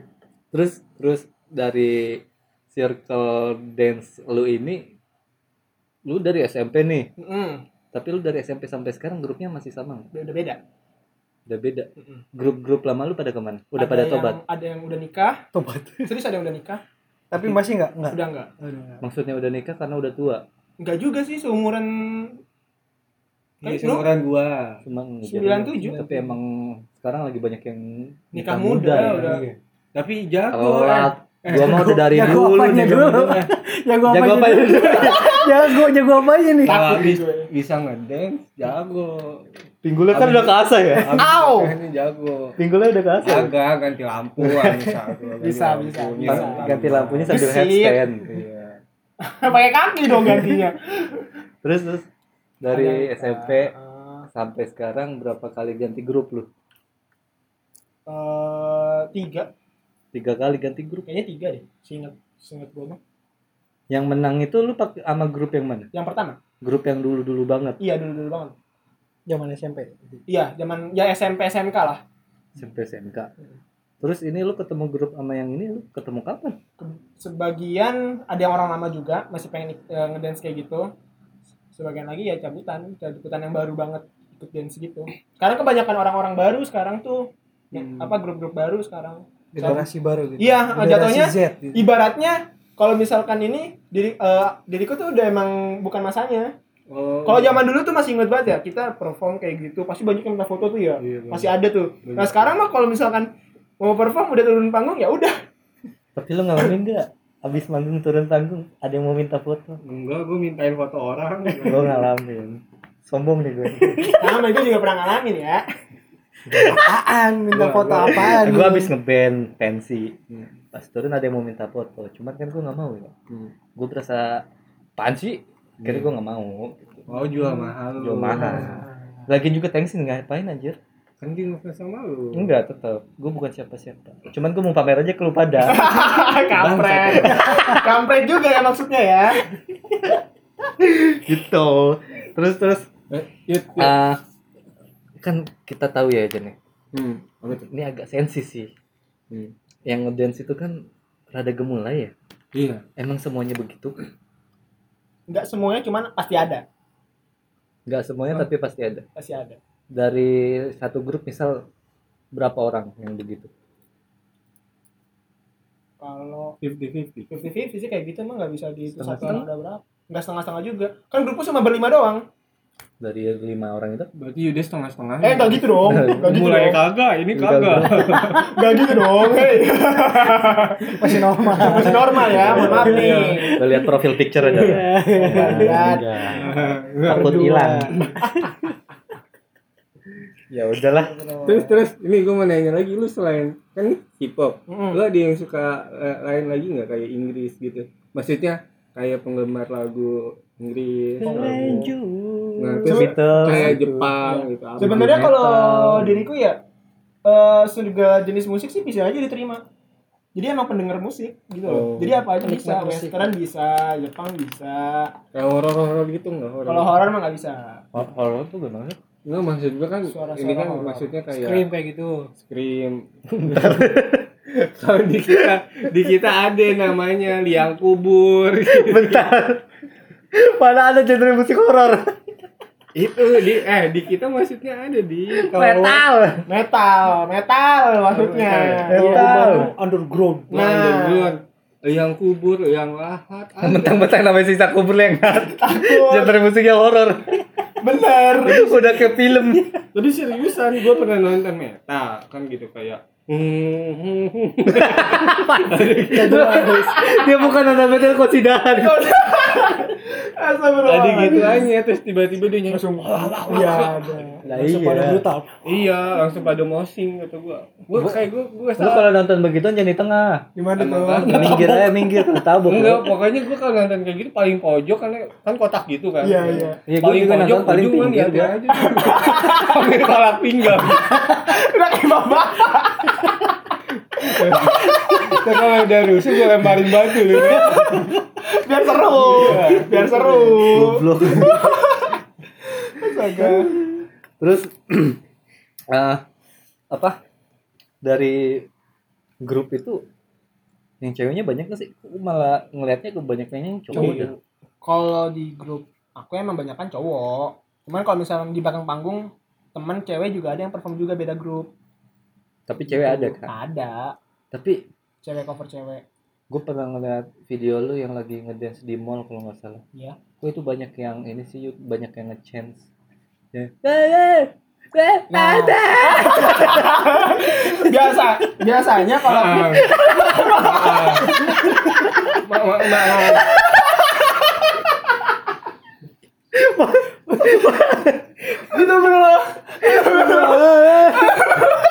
S1: Terus terus dari circle dance lu ini lu dari SMP nih.
S3: Mm,
S1: Tapi lu dari SMP sampai sekarang grupnya masih sama nggak?
S3: udah beda.
S1: Udah beda.
S3: Mm-mm.
S1: Grup-grup lama lu pada kemana? Udah
S3: Ada
S1: pada
S3: yang-
S1: tobat.
S3: Ada yang udah nikah.
S4: Tobat.
S3: Serius ada yang udah nikah?
S4: Tapi masih enggak? Enggak.
S3: Udah enggak?
S1: Maksudnya udah nikah karena udah tua.
S3: Enggak juga sih seumuran Kan lu
S2: Ini Iya, seumuran gua.
S1: Cuma ngejar.
S3: 97.
S1: Tapi emang sekarang lagi banyak yang
S3: nikah muda,
S1: ya.
S3: udah.
S2: Iya. Tapi jago.
S1: Telat. Gua mau udah dari
S4: Jago
S1: dulu
S4: apanya
S1: nih.
S4: dulu? Jago
S1: Jago
S4: apa
S1: apa
S4: aja?
S1: dulu?
S4: Jago jago apa aja nih?
S2: Kalau habis
S3: ya.
S2: bisa ngedance, jago.
S1: Pinggulnya kan
S2: Abis-
S1: udah keasa ya.
S2: Au. Ini jago.
S1: Pinggulnya udah keasa. ya?
S2: Agak ganti lampu ah, misalnya.
S3: Bisa,
S2: Ganti
S3: bisa,
S2: lampunya,
S1: Bang,
S2: lampu.
S1: Ganti lampunya sambil
S3: Gesit.
S1: headstand.
S2: Iya.
S3: Pakai kaki dong gantinya.
S1: Terus terus dari
S3: Ada-
S1: SMP
S3: Eh,
S1: sampai sekarang berapa kali ganti grup lu?
S3: eh, tiga,
S1: Tiga kali ganti grup.
S3: kayaknya tiga deh. Seingat seingat gua mah.
S1: Yang menang itu lu pakai sama grup yang mana?
S3: Yang pertama.
S1: Grup yang dulu-dulu banget.
S3: Iya, dulu-dulu banget.
S4: Zaman SMP.
S3: Iya, zaman ya SMP SMK lah.
S1: SMP SMK. Terus ini lu ketemu grup sama yang ini lu ketemu kapan?
S3: Ke- Sebagian ada yang orang lama juga masih pengen eh, ngedance kayak gitu. Sebagian lagi ya cabutan, cabutan yang baru banget ikut dance gitu. Karena kebanyakan orang-orang baru sekarang tuh ya,
S2: Hmm.
S3: apa grup-grup baru sekarang
S4: Generasi baru gitu.
S3: Iya,
S4: Generasi
S3: jatuhnya-
S4: Z gitu.
S3: ibaratnya kalau misalkan ini diri eh, diriku tuh udah emang bukan masanya.
S2: Oh.
S3: Kalau zaman dulu tuh masih inget banget ya kita perform kayak gitu, pasti banyak yang minta foto tuh ya.
S2: Iya,
S3: Masih ada tuh.
S2: Banyak.
S3: Nah, sekarang mah kalau misalkan mau perform udah turun panggung ya udah.
S1: Tapi lu ngalamin gak? Abis manggung turun panggung, ada yang mau minta foto?
S2: Enggak, gua mintain foto orang.
S1: Gue ngalamin. Sombong nih gue.
S3: Sama itu juga pernah ngalamin ya.
S4: Apaan minta
S2: Gua-
S4: foto
S2: gua-
S4: apaan?
S1: gue abis Eh, ngeband pensi.
S2: Hmm.
S1: Pas turun ada yang mau minta foto. Cuman kan gue nggak mau ya.
S2: Hmm.
S1: Gue berasa panci. Kira gue nggak mau.
S2: Oh, jual mahal.
S1: Jual mahal. Lagi juga tensin ngapain anjir?
S2: Kan dia ngefans sama lu.
S1: Enggak tetap. Gue bukan siapa-siapa. Cuman gue mau pamer aja ke lu pada.
S3: kampret ya. kampret juga ya maksudnya ya
S1: gitu. Terus terus.
S2: Eh, yut, yut.
S1: ah, kan kita tahu ya Jen. ya.
S2: Hmm, apa tuh?
S1: Ini agak sensi sih.
S2: Hmm.
S1: Yang ngedance itu kan rada gemulai ya.
S2: Iya.
S1: Emang semuanya begitu?
S3: nggak semuanya cuman pasti ada
S1: Enggak semuanya tapi pasti ada.
S3: pasti ada
S1: Dari satu grup misal berapa orang yang begitu?
S3: kalau
S2: 50-50.
S3: fifty fifty sih kayak gitu emang nggak bisa dihitung satu
S1: Setengah-setengah?
S3: orang udah berapa nggak setengah setengah juga kan grupku cuma berlima doang
S1: Dari lima orang itu?
S2: Berarti Yuda setengah-setengah.
S3: eh nggak gitu dong nggak gitu
S2: Mulai
S3: dong
S2: kagak, ini
S1: Ini
S2: kagak.
S3: nggak gitu dong hei
S4: Masih normal.
S3: masih normal ya mohon maaf nih Iya.
S1: Lo lihat profil picture aja. ya?
S3: Lihat.
S2: Enggak.
S1: Takut hilang. ya udahlah.
S2: terus terus ini gue mau nanya lagi lu selain kan hip hop
S3: Mm-mm.
S2: lu ada yang suka eh, lain lagi nggak kayak Inggris gitu maksudnya kayak penggemar lagu Inggris lagu nah terus
S1: Beatles.
S2: kayak Jepang gitu apa
S3: sebenarnya
S2: gitu.
S3: kalau diriku ya eh surga jenis musik sih bisa aja diterima jadi emang pendengar musik gitu loh.
S2: Oh.
S3: Jadi apa aja bisa,
S4: Penikmat musik.
S3: western bisa, Jepang bisa.
S2: kayak horor horor gitu nggak horor
S3: Kalau horor mah nggak bisa.
S1: Horor tuh gimana?
S2: nggak maksud gue kan
S3: Suara-suara
S2: ini kan
S3: horor.
S2: maksudnya kayak
S4: Scream kayak gitu.
S2: scream Kalau di kita, di kita ada namanya liang kubur.
S1: Bentar. Mana ada genre musik horor?
S2: Itu di eh di kita maksudnya ada di
S1: Metal.
S3: metal metal maksudnya
S1: Metal.
S3: Iya.
S4: underground.
S2: Nah,
S3: Nah.
S2: underground. Liang kubur, liang lahat. Ah, ada.
S1: Mentang-mentang namanya sisa kubur lengat. genre musiknya horor.
S3: bener
S1: Udah ke film.
S2: Tapi seriusan, gue pernah nonton metal kan gitu kayak. hmm,
S1: Dia bukan nonton metal kosidahan.
S2: Tadi gitu aja, terus tiba-tiba dia nyanyi.
S4: Langsung
S3: iya ada
S1: Lah
S4: langsung pada brutal.
S2: Iya, langsung pada mosing kata gua. Gua kayak gua gua
S1: Lu
S2: salah.
S1: kalau nonton begitu jangan di tengah.
S3: gimana
S2: Emang
S3: tuh
S2: banget.
S1: Minggir aja minggir lu tabok. lu.
S2: Enggak, pokoknya gua kalau nonton kayak gitu paling pojok karena kan kotak gitu kan.
S3: Iya, iya.
S1: Iya, gua juga nonton paling
S2: ujung mah
S1: pinggir
S2: liatnya
S1: gua.
S2: aja. Sampai kolak pinggang.
S3: udah kayak bapak
S2: Kita kalau udah rusuh gua lemparin batu lu.
S3: biar seru
S1: Iya.
S3: biar seru
S1: Goblok.
S3: Astaga.
S1: Terus eh, apa? Dari grup itu yang ceweknya banyak gak sih? Aku malah ngelihatnya kebanyakan yang cowok
S2: Iya.
S1: dah.
S3: kalau di grup aku emang banyak kan cowok cuman kalau misalnya di belakang panggung temen cewek juga ada yang perform juga beda grup
S1: Tapi cewek ada kan?
S3: ada
S1: Tapi
S3: cewek cover cewek
S1: gue pernah ngeliat video lu yang lagi ngedance di mall kalau nggak salah.
S3: Iya.
S1: Gue itu banyak yang ini sih, Yud. banyak yang ngechance. Ya. Eh, eh, eh,
S3: Nah.
S1: ada.
S3: biasa biasanya kalau
S2: Maaf. Maaf. Ma- ma- Maaf.
S3: itu belum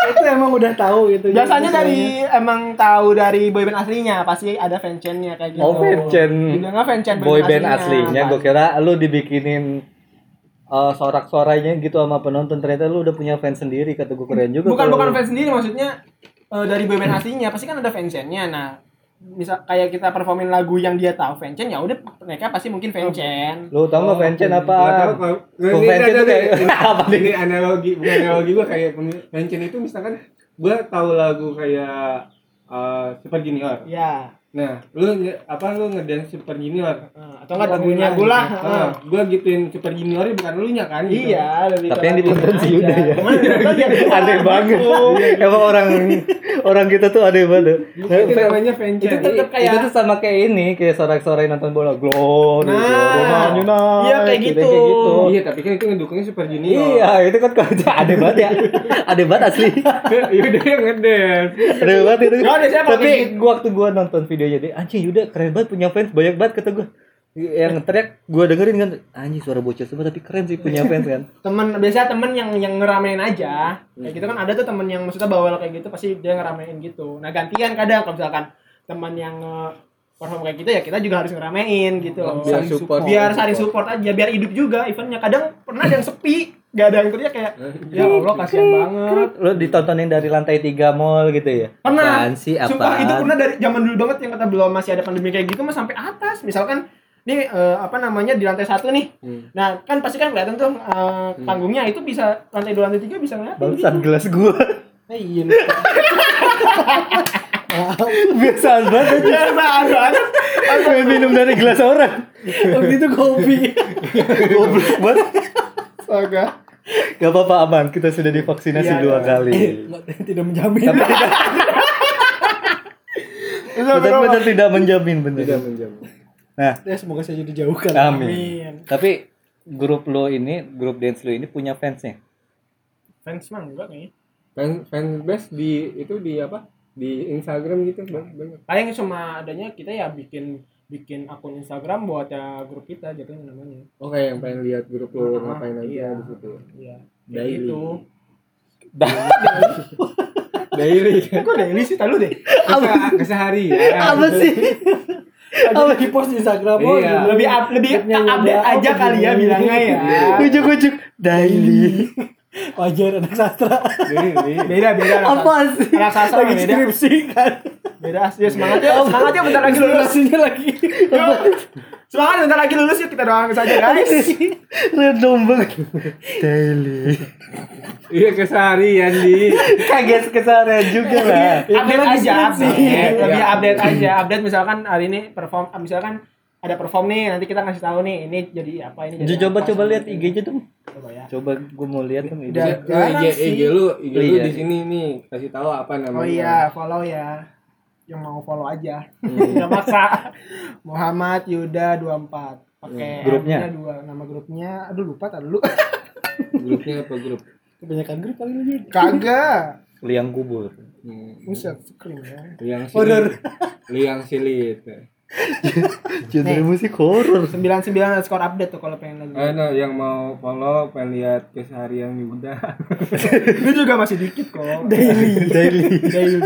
S4: itu emang udah tahu gitu.
S3: biasanya dari emang tahu dari boyband aslinya pasti ada fanchainnya kayak gitu Iya,
S1: Oh, fancen.
S3: Dibilangnya fancen
S1: boy band aslinya gue kira lu dibikinin eh, sorak-sorainya gitu sama penonton ternyata lu udah punya fans sendiri kata gue keren juga
S3: bukan
S1: kalau
S3: bukan
S1: lu.
S3: fans sendiri maksudnya eh, dari boyband aslinya pasti kan ada fanchainnya nah misal kayak kita performin lagu yang dia tahu fanchain ya udah mereka pasti mungkin fanchain
S1: lu tau nggak fancen apa
S2: Gak tau kalau
S1: Kok
S2: ini,
S1: fancen
S2: ini,
S1: tuh kayak-
S2: ini,
S1: apa nih?
S2: ini analogi bukan analogi gua kayak pemi- fancen itu misalkan gua tahu lagu kayak eh, Super Junior
S1: Iya.
S3: ya
S2: nah lu nge- apa lu ngedance Super Junior
S3: eh, atau enggak lagunya lagu lah
S2: Ah, gua gituin Super Junior bukan lu nya kan
S3: eh.
S2: gitu.
S3: iya lebih
S1: tapi
S3: ke
S1: yang
S3: lagunya
S1: ditonton si
S3: aja.
S1: Yuda ya
S3: Cuman yang ditonton ya Iya. gua.
S1: aneh banget emang orang orang kita tuh aneh banget Nah,
S2: Bukan itu namanya fancen
S3: Itu tetap kayak-
S1: itu tuh sama kayak ini kayak sorak-sorai nonton bola glow
S3: Nah, iya, kayak gitu.
S2: iya tapi kan itu ngedukungnya Super Junior
S1: Iya, itu kan kalau aneh banget ya. Aneh banget asli.
S2: Yaudah Iya, yang ngedance
S1: Keren banget itu.
S3: Gak ada siapa
S1: Tapi
S3: kayak
S1: gua waktu gua nonton videonya dia, anjing Yuda keren banget punya fans banyak banget kata gua. Yang teriak gua dengerin kan, anjing suara bocil semua tapi keren sih punya fans kan.
S3: temen biasanya temen yang yang ngeramein aja kayak
S2: Hmm.
S3: gitu kan ada tuh temen yang maksudnya bawel kayak gitu pasti dia ngeramein gitu nah gantian kadang kalau misalkan temen yang eh, perform kayak gitu ya kita juga harus ngeramein gitu loh
S2: biar support
S3: biar saling support aja biar hidup juga eventnya kadang pernah ada yang sepi gak ada yang teriak kayak ya allah kasihan banget
S1: Lu ditontonin dari lantai 3 mall gitu ya.
S3: Pernah.
S1: Apaan sih apaan?
S3: sumpah itu pernah dari zaman dulu banget yang kata belum masih ada pandemi kayak gitu mah sampai atas misalkan nih eh, apa namanya di lantai satu nih
S2: Hmm.
S3: nah kan pasti kan kelihatan tuh eh, panggungnya itu bisa lantai dua lantai tiga bisa gitu. ngeliat
S1: Bangsat gelas gua.
S4: Eh, iya.
S1: Biasaan banget aja.
S3: Biasaan banget.
S1: Gua minum dari gelas orang.
S4: Waktu itu kopi.
S1: Goblok banget.
S3: Astaga.
S1: Gak apa-apa aman, kita sudah divaksinasi
S3: Iya,
S1: dua
S3: iya.
S1: kali.
S4: Tidak menjamin.
S1: Tapi tidak, benar-benar tidak menjamin bener.
S2: tidak menjamin
S1: Nah,
S4: Ya, semoga saya dijauhkan.
S1: Amin. Tapi grup lo ini, grup dance lo ini punya fansnya.
S3: Fans mah enggak nih.
S2: fan fanbase di itu di apa di Instagram gitu bang banyak
S3: Paling cuma adanya kita ya bikin bikin akun Instagram buat ya grup kita jatuhnya namanya.
S2: oke Oh, yang pengen lihat grup lo
S3: Ah,
S2: Oh, ngapain aja
S3: iya.
S2: di situ
S3: Iya.
S2: Daily.
S3: Kayak gitu.
S2: daily kan
S3: Kok daily sih tahu deh.
S2: Kese- kesehari ya
S1: Apa sih?
S4: Apa di post di Instagram? Oh,
S2: Iya.
S4: gitu.
S3: Lebih up, lebih
S4: Grupnya
S3: update
S4: udah, oh,
S3: aja kali ya
S4: begini.
S3: bilangnya ya.
S2: Iya.
S1: Ujuk-ujuk daily.
S4: Wajar anak sastra.
S2: daily Iya.
S3: Beda beda.
S1: Apa sih?
S3: Anak sastra
S4: Lagi
S3: beda.
S4: skripsi kan.
S3: Beda ya semangatnya, semangatnya bentar lagi lulus.
S4: Durasinya lagi
S3: Yo, semangat bentar lagi lulus yuk kita doakan saja guys.
S4: random banget. Daily.
S2: Iya keseharian di.
S1: Kaget kesana juga lah.
S3: update aja update
S2: Iya.
S3: lebih update aja update misalkan hari ini perform ah, misalkan ada perform nih nanti kita ngasih tahu nih ini jadi apa ini jadi
S1: coba
S3: apa,
S1: coba
S3: sama
S1: lihat
S3: ini.
S1: IG-nya dong.
S3: coba ya
S1: Coba gue mau lihat dong
S2: Iya,
S1: IG.
S3: Udah.
S2: Lu IG, IG lu, IG
S1: Oh,
S2: lu
S1: iya.
S2: di sini nih kasih tahu apa namanya.
S3: oh iya follow ya yang mau follow aja
S1: Hmm.
S3: nggak maksa Muhammad Yuda 24 pakai
S1: Hmm, grupnya?
S3: M-nya dua nama grupnya aduh lupa tadi lu
S2: Grupnya apa grup?
S4: Kebanyakan grup kali ini.
S3: kagak
S1: Liang kubur.
S2: Hmm.
S3: buset screen ya
S2: Liang
S4: Horor.
S2: silit. Liang silit. Eh,
S1: Genre musik horor.
S3: 99 ada skor update tuh kalau pengen lagi
S2: Eh, nah, yang mau follow pengen lihat keseharian Yuda.
S3: ini juga masih dikit kok
S1: Daily.
S3: Daily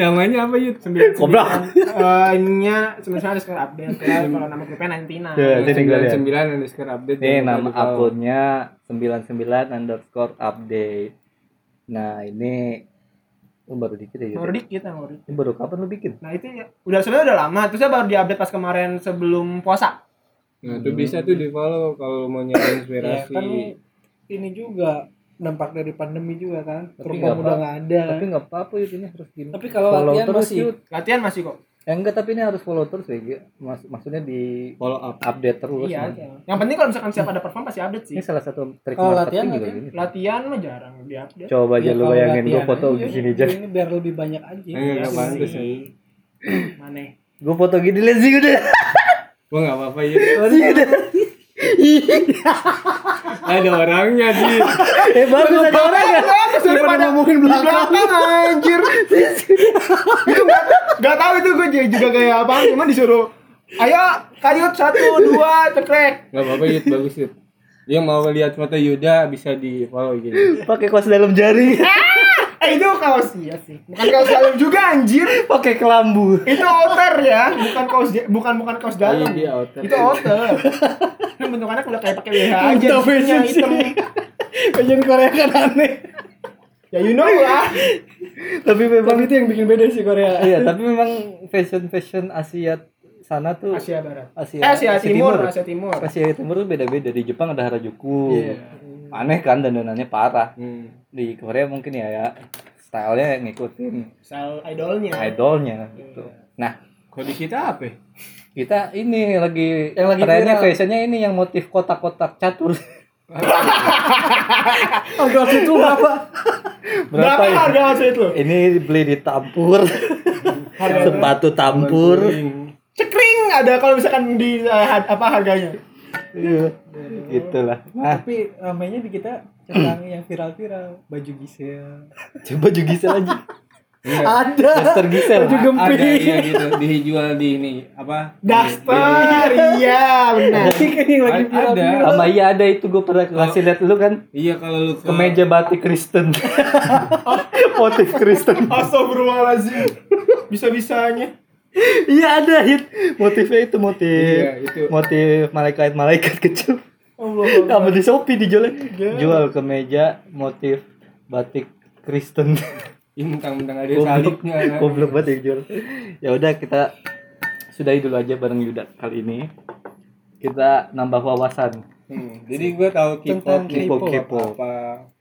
S2: namanya apa Yud?
S1: Goblok.
S3: Eh, ininya sebenarnya ada skor update kalau kalau nama grupnya 99
S2: Iya.
S1: Ya, sini gua lihat.
S2: 99 underscore update.
S1: Ini
S2: jangan
S1: nama
S2: lupa di follow.
S1: akunnya 99 underscore update. Nah ini lu baru dikit ya. Yud?
S3: baru dikit yang baru
S1: Ini baru kapan lu bikin?
S3: nah itu ya udah sebenarnya udah lama terus saya baru diupdate pas kemarin sebelum puasa
S2: Nah, tuh bisa tuh di follow kalau mau
S3: Iya,
S2: nyari inspirasi.
S4: kan ini juga dampak dari pandemi juga kan.
S1: Tapi
S4: Program
S1: nggak
S4: udah
S1: apa-
S4: nggak ada.
S1: Tapi nggak apa-apa Yud, ini harus gini.
S4: Tapi kalau latihan masih.
S1: Yud.
S3: latihan masih kok
S1: Eh, enggak tapi ini harus follow terus ya. Mas, maksudnya di
S2: follow up.
S1: update terus.
S3: iya
S1: Nah.
S3: yang penting kalau misalkan siapa ada perform pasti update sih
S1: Ini salah satu trik
S4: Kalau
S1: marketing
S4: latihan,
S1: juga
S4: latihan.
S1: gini.
S3: latihan mah jarang diupdate
S1: Coba aja
S4: Ya,
S1: lu
S4: kalau
S1: bayangin gue
S4: latihan
S1: foto
S4: aja, iya.
S1: gini aja.
S4: Ini biar lebih banyak aja.
S1: Eh.
S3: Iya,
S2: Enggak enggak
S3: sih.
S2: pantas sih.
S3: mana
S1: Gue foto gini lihat sih udah.
S2: Gua enggak apa-apa Yud.
S1: Sih, udah.
S2: Ada orangnya sih.
S1: Eh bagus ada orang ya.
S3: daripada ngomongin belakang, anjir itu gak, gak tau itu gue juga kayak apa cuman disuruh ayo kayut satu dua cekrek
S2: Enggak apa-apa Yud, bagus Yud. Yang mau lihat foto Yuda bisa di follow IG.
S1: Pakai kaos dalam jari.
S3: eh itu kaos iya sih bukan kaos dalam juga anjir
S1: Pakai kelambu.
S3: itu outer ya bukan kaos ja- bukan bukan kaos dalam
S2: Iya, dia outer.
S3: itu outer ini bentukannya udah kayak pakai WH aja
S4: Itu
S3: isinya
S4: fashion sih.
S3: hitam
S4: Kajian Korea kan aneh.
S3: ya you know lah
S1: Tapi
S4: Tapi
S1: memang
S4: itu yang bikin beda sih Korea.
S1: iya, tapi memang fashion fashion Asia sana tuh
S3: Asia Barat
S1: Asia,
S3: eh Asia Timur Asia Timur
S1: Asia Timur tuh beda-beda. Di Jepang ada Harajuku.
S4: Iya.
S1: Aneh kan dandanannya parah.
S2: Hmm.
S1: Di Korea mungkin ya ya stylenya ngikutin
S3: style idolnya
S4: Iya.
S1: idolnya gitu. Nah,
S2: Kalau di kita apa? ya?
S1: kita ini lagi,
S4: Yang lagi
S1: trennya
S4: viral.
S1: fashionnya ini yang motif kotak-kotak catur.
S4: Agak Oh, itu apa?
S3: berapa
S1: ya?
S3: harga asli itu
S1: Ini beli di Tampur. Sepatu Tampur.
S4: Iya.
S2: Bantuin.
S3: cekring ada kalau misalkan di eh, had- apa harganya
S1: Iya. Itulah. Nah,
S4: Tapi ramainya di kita tentang yang viral-viral baju gisel.
S1: coba juga gisel aja.
S4: Ada.
S1: Daster gisel.
S4: Baju
S2: Ada iya
S4: gempy.
S2: gitu dijual di ini apa?
S3: Duster iya benar
S4: Ini kan yang lagi
S2: Ada.
S4: viral-viral.
S1: Sama iya ada itu gue pernah kasih lihat lu kan
S2: Iya kalau lu ke
S1: kemeja batik Kristen. Motif Kristen.
S3: Astagfirullahaladzim bisa-bisanya
S1: Iya ada hit. Motifnya itu motif.
S2: Iya, itu. Oh,
S1: Motif malaikat-malaikat kecil.
S3: Allah
S1: Kamu di Shopee dijual.
S2: iya.
S1: Jual kemeja motif batik Kristen.
S2: Ini mentang-mentang ada
S1: Goblok.
S2: salibnya. kan.
S1: Goblok banget yang jual. Ya udah kita sudahi dulu aja bareng Yuda kali ini. Kita nambah wawasan
S2: Hmm, Jadi gua tahu K-pop,
S4: Tentang
S2: K-pop,
S1: K-pop.
S2: apa.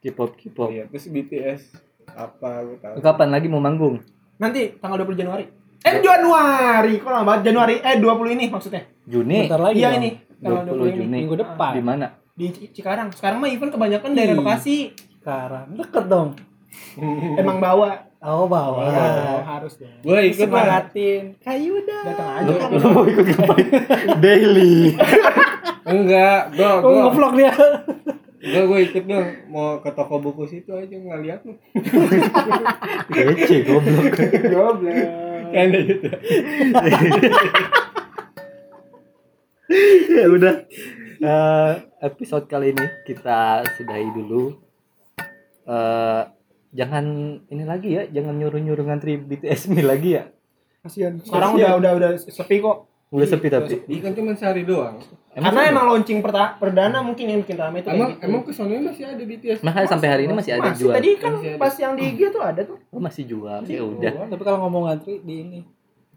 S1: K-pop K-pop.
S2: Iya, terus BTS apa gua tahu.
S1: Kapan lagi mau manggung?
S3: Nanti tanggal 20 Januari. Eh Januari, kok lama banget Januari. Eh 20 ini maksudnya.
S1: Juni.
S4: Bentar lagi.
S3: iya
S4: dong.
S3: ini tanggal
S1: 20 Juni.
S4: Minggu depan.
S1: Di mana?
S3: Di Ci- Cikarang. Sekarang mah event kebanyakan dari
S4: Ih.
S3: Bekasi.
S4: Sekarang deket dong.
S3: Emang bawa.
S4: Oh bawa.
S3: Oh, harus dong.
S2: Gua ikut lah.
S4: Semangatin. Kayu dah.
S3: Datang
S1: Lu,
S3: aja.
S1: lu mau ikut ngapain? Daily.
S2: Enggak, gua
S4: Oh,
S2: gua
S4: ngevlog dia.
S2: Enggak, gue ikut dong. Mau ke toko buku situ aja ngeliat lu.
S1: Receh goblok.
S2: Kan gitu.
S1: ya udah. Eh, episode kali ini kita sudahi dulu. Eh, jangan ini lagi ya, jangan nyuruh-nyuruh ngantri BTS Mi lagi ya.
S3: Sekarang udah udah udah sepi kok.
S1: Udah sepi tapi.
S2: Ikan Iya, kan cuma sehari doang.
S3: Iya, Karena emang launching perta- perdana mungkin yang bikin rame itu kayak
S2: Emang
S3: gitu.
S2: emang kesana masih ada BTS.
S1: Makanya sampai hari ini masih ada
S3: Masih,
S1: jual.
S3: Tadi kan
S2: Masih ada.
S3: pas yang di IG tuh ada tuh.
S1: Oh, masih jual. Ya udah.
S4: Tapi kalau ngomong ngantri di ini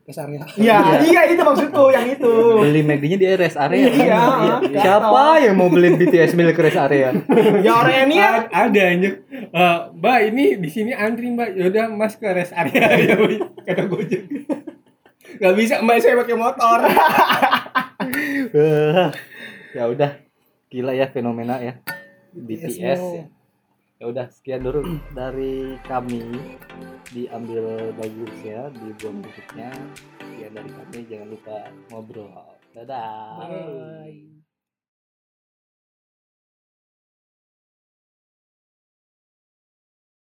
S4: ke Sarya.
S3: Iya, iya itu maksudku yang itu.
S1: Beli McD-nya di rest area.
S3: Iya,
S1: Siapa yang mau beli BTS milik rest area?
S3: ya orang ini ya.
S2: A- ada anjir. Eh, mbak ini di sini antri mbak. Yaudah mas ke rest area ya Mbak. kata gojek. Gak bisa mbak saya pakai motor.
S1: ya udah. Gila ya fenomena ya. BTS ya. Ya udah sekian dulu dari kami diambil bagus ya dibuang musiknya sekian dari kami jangan lupa ngobrol dadah
S4: Bye.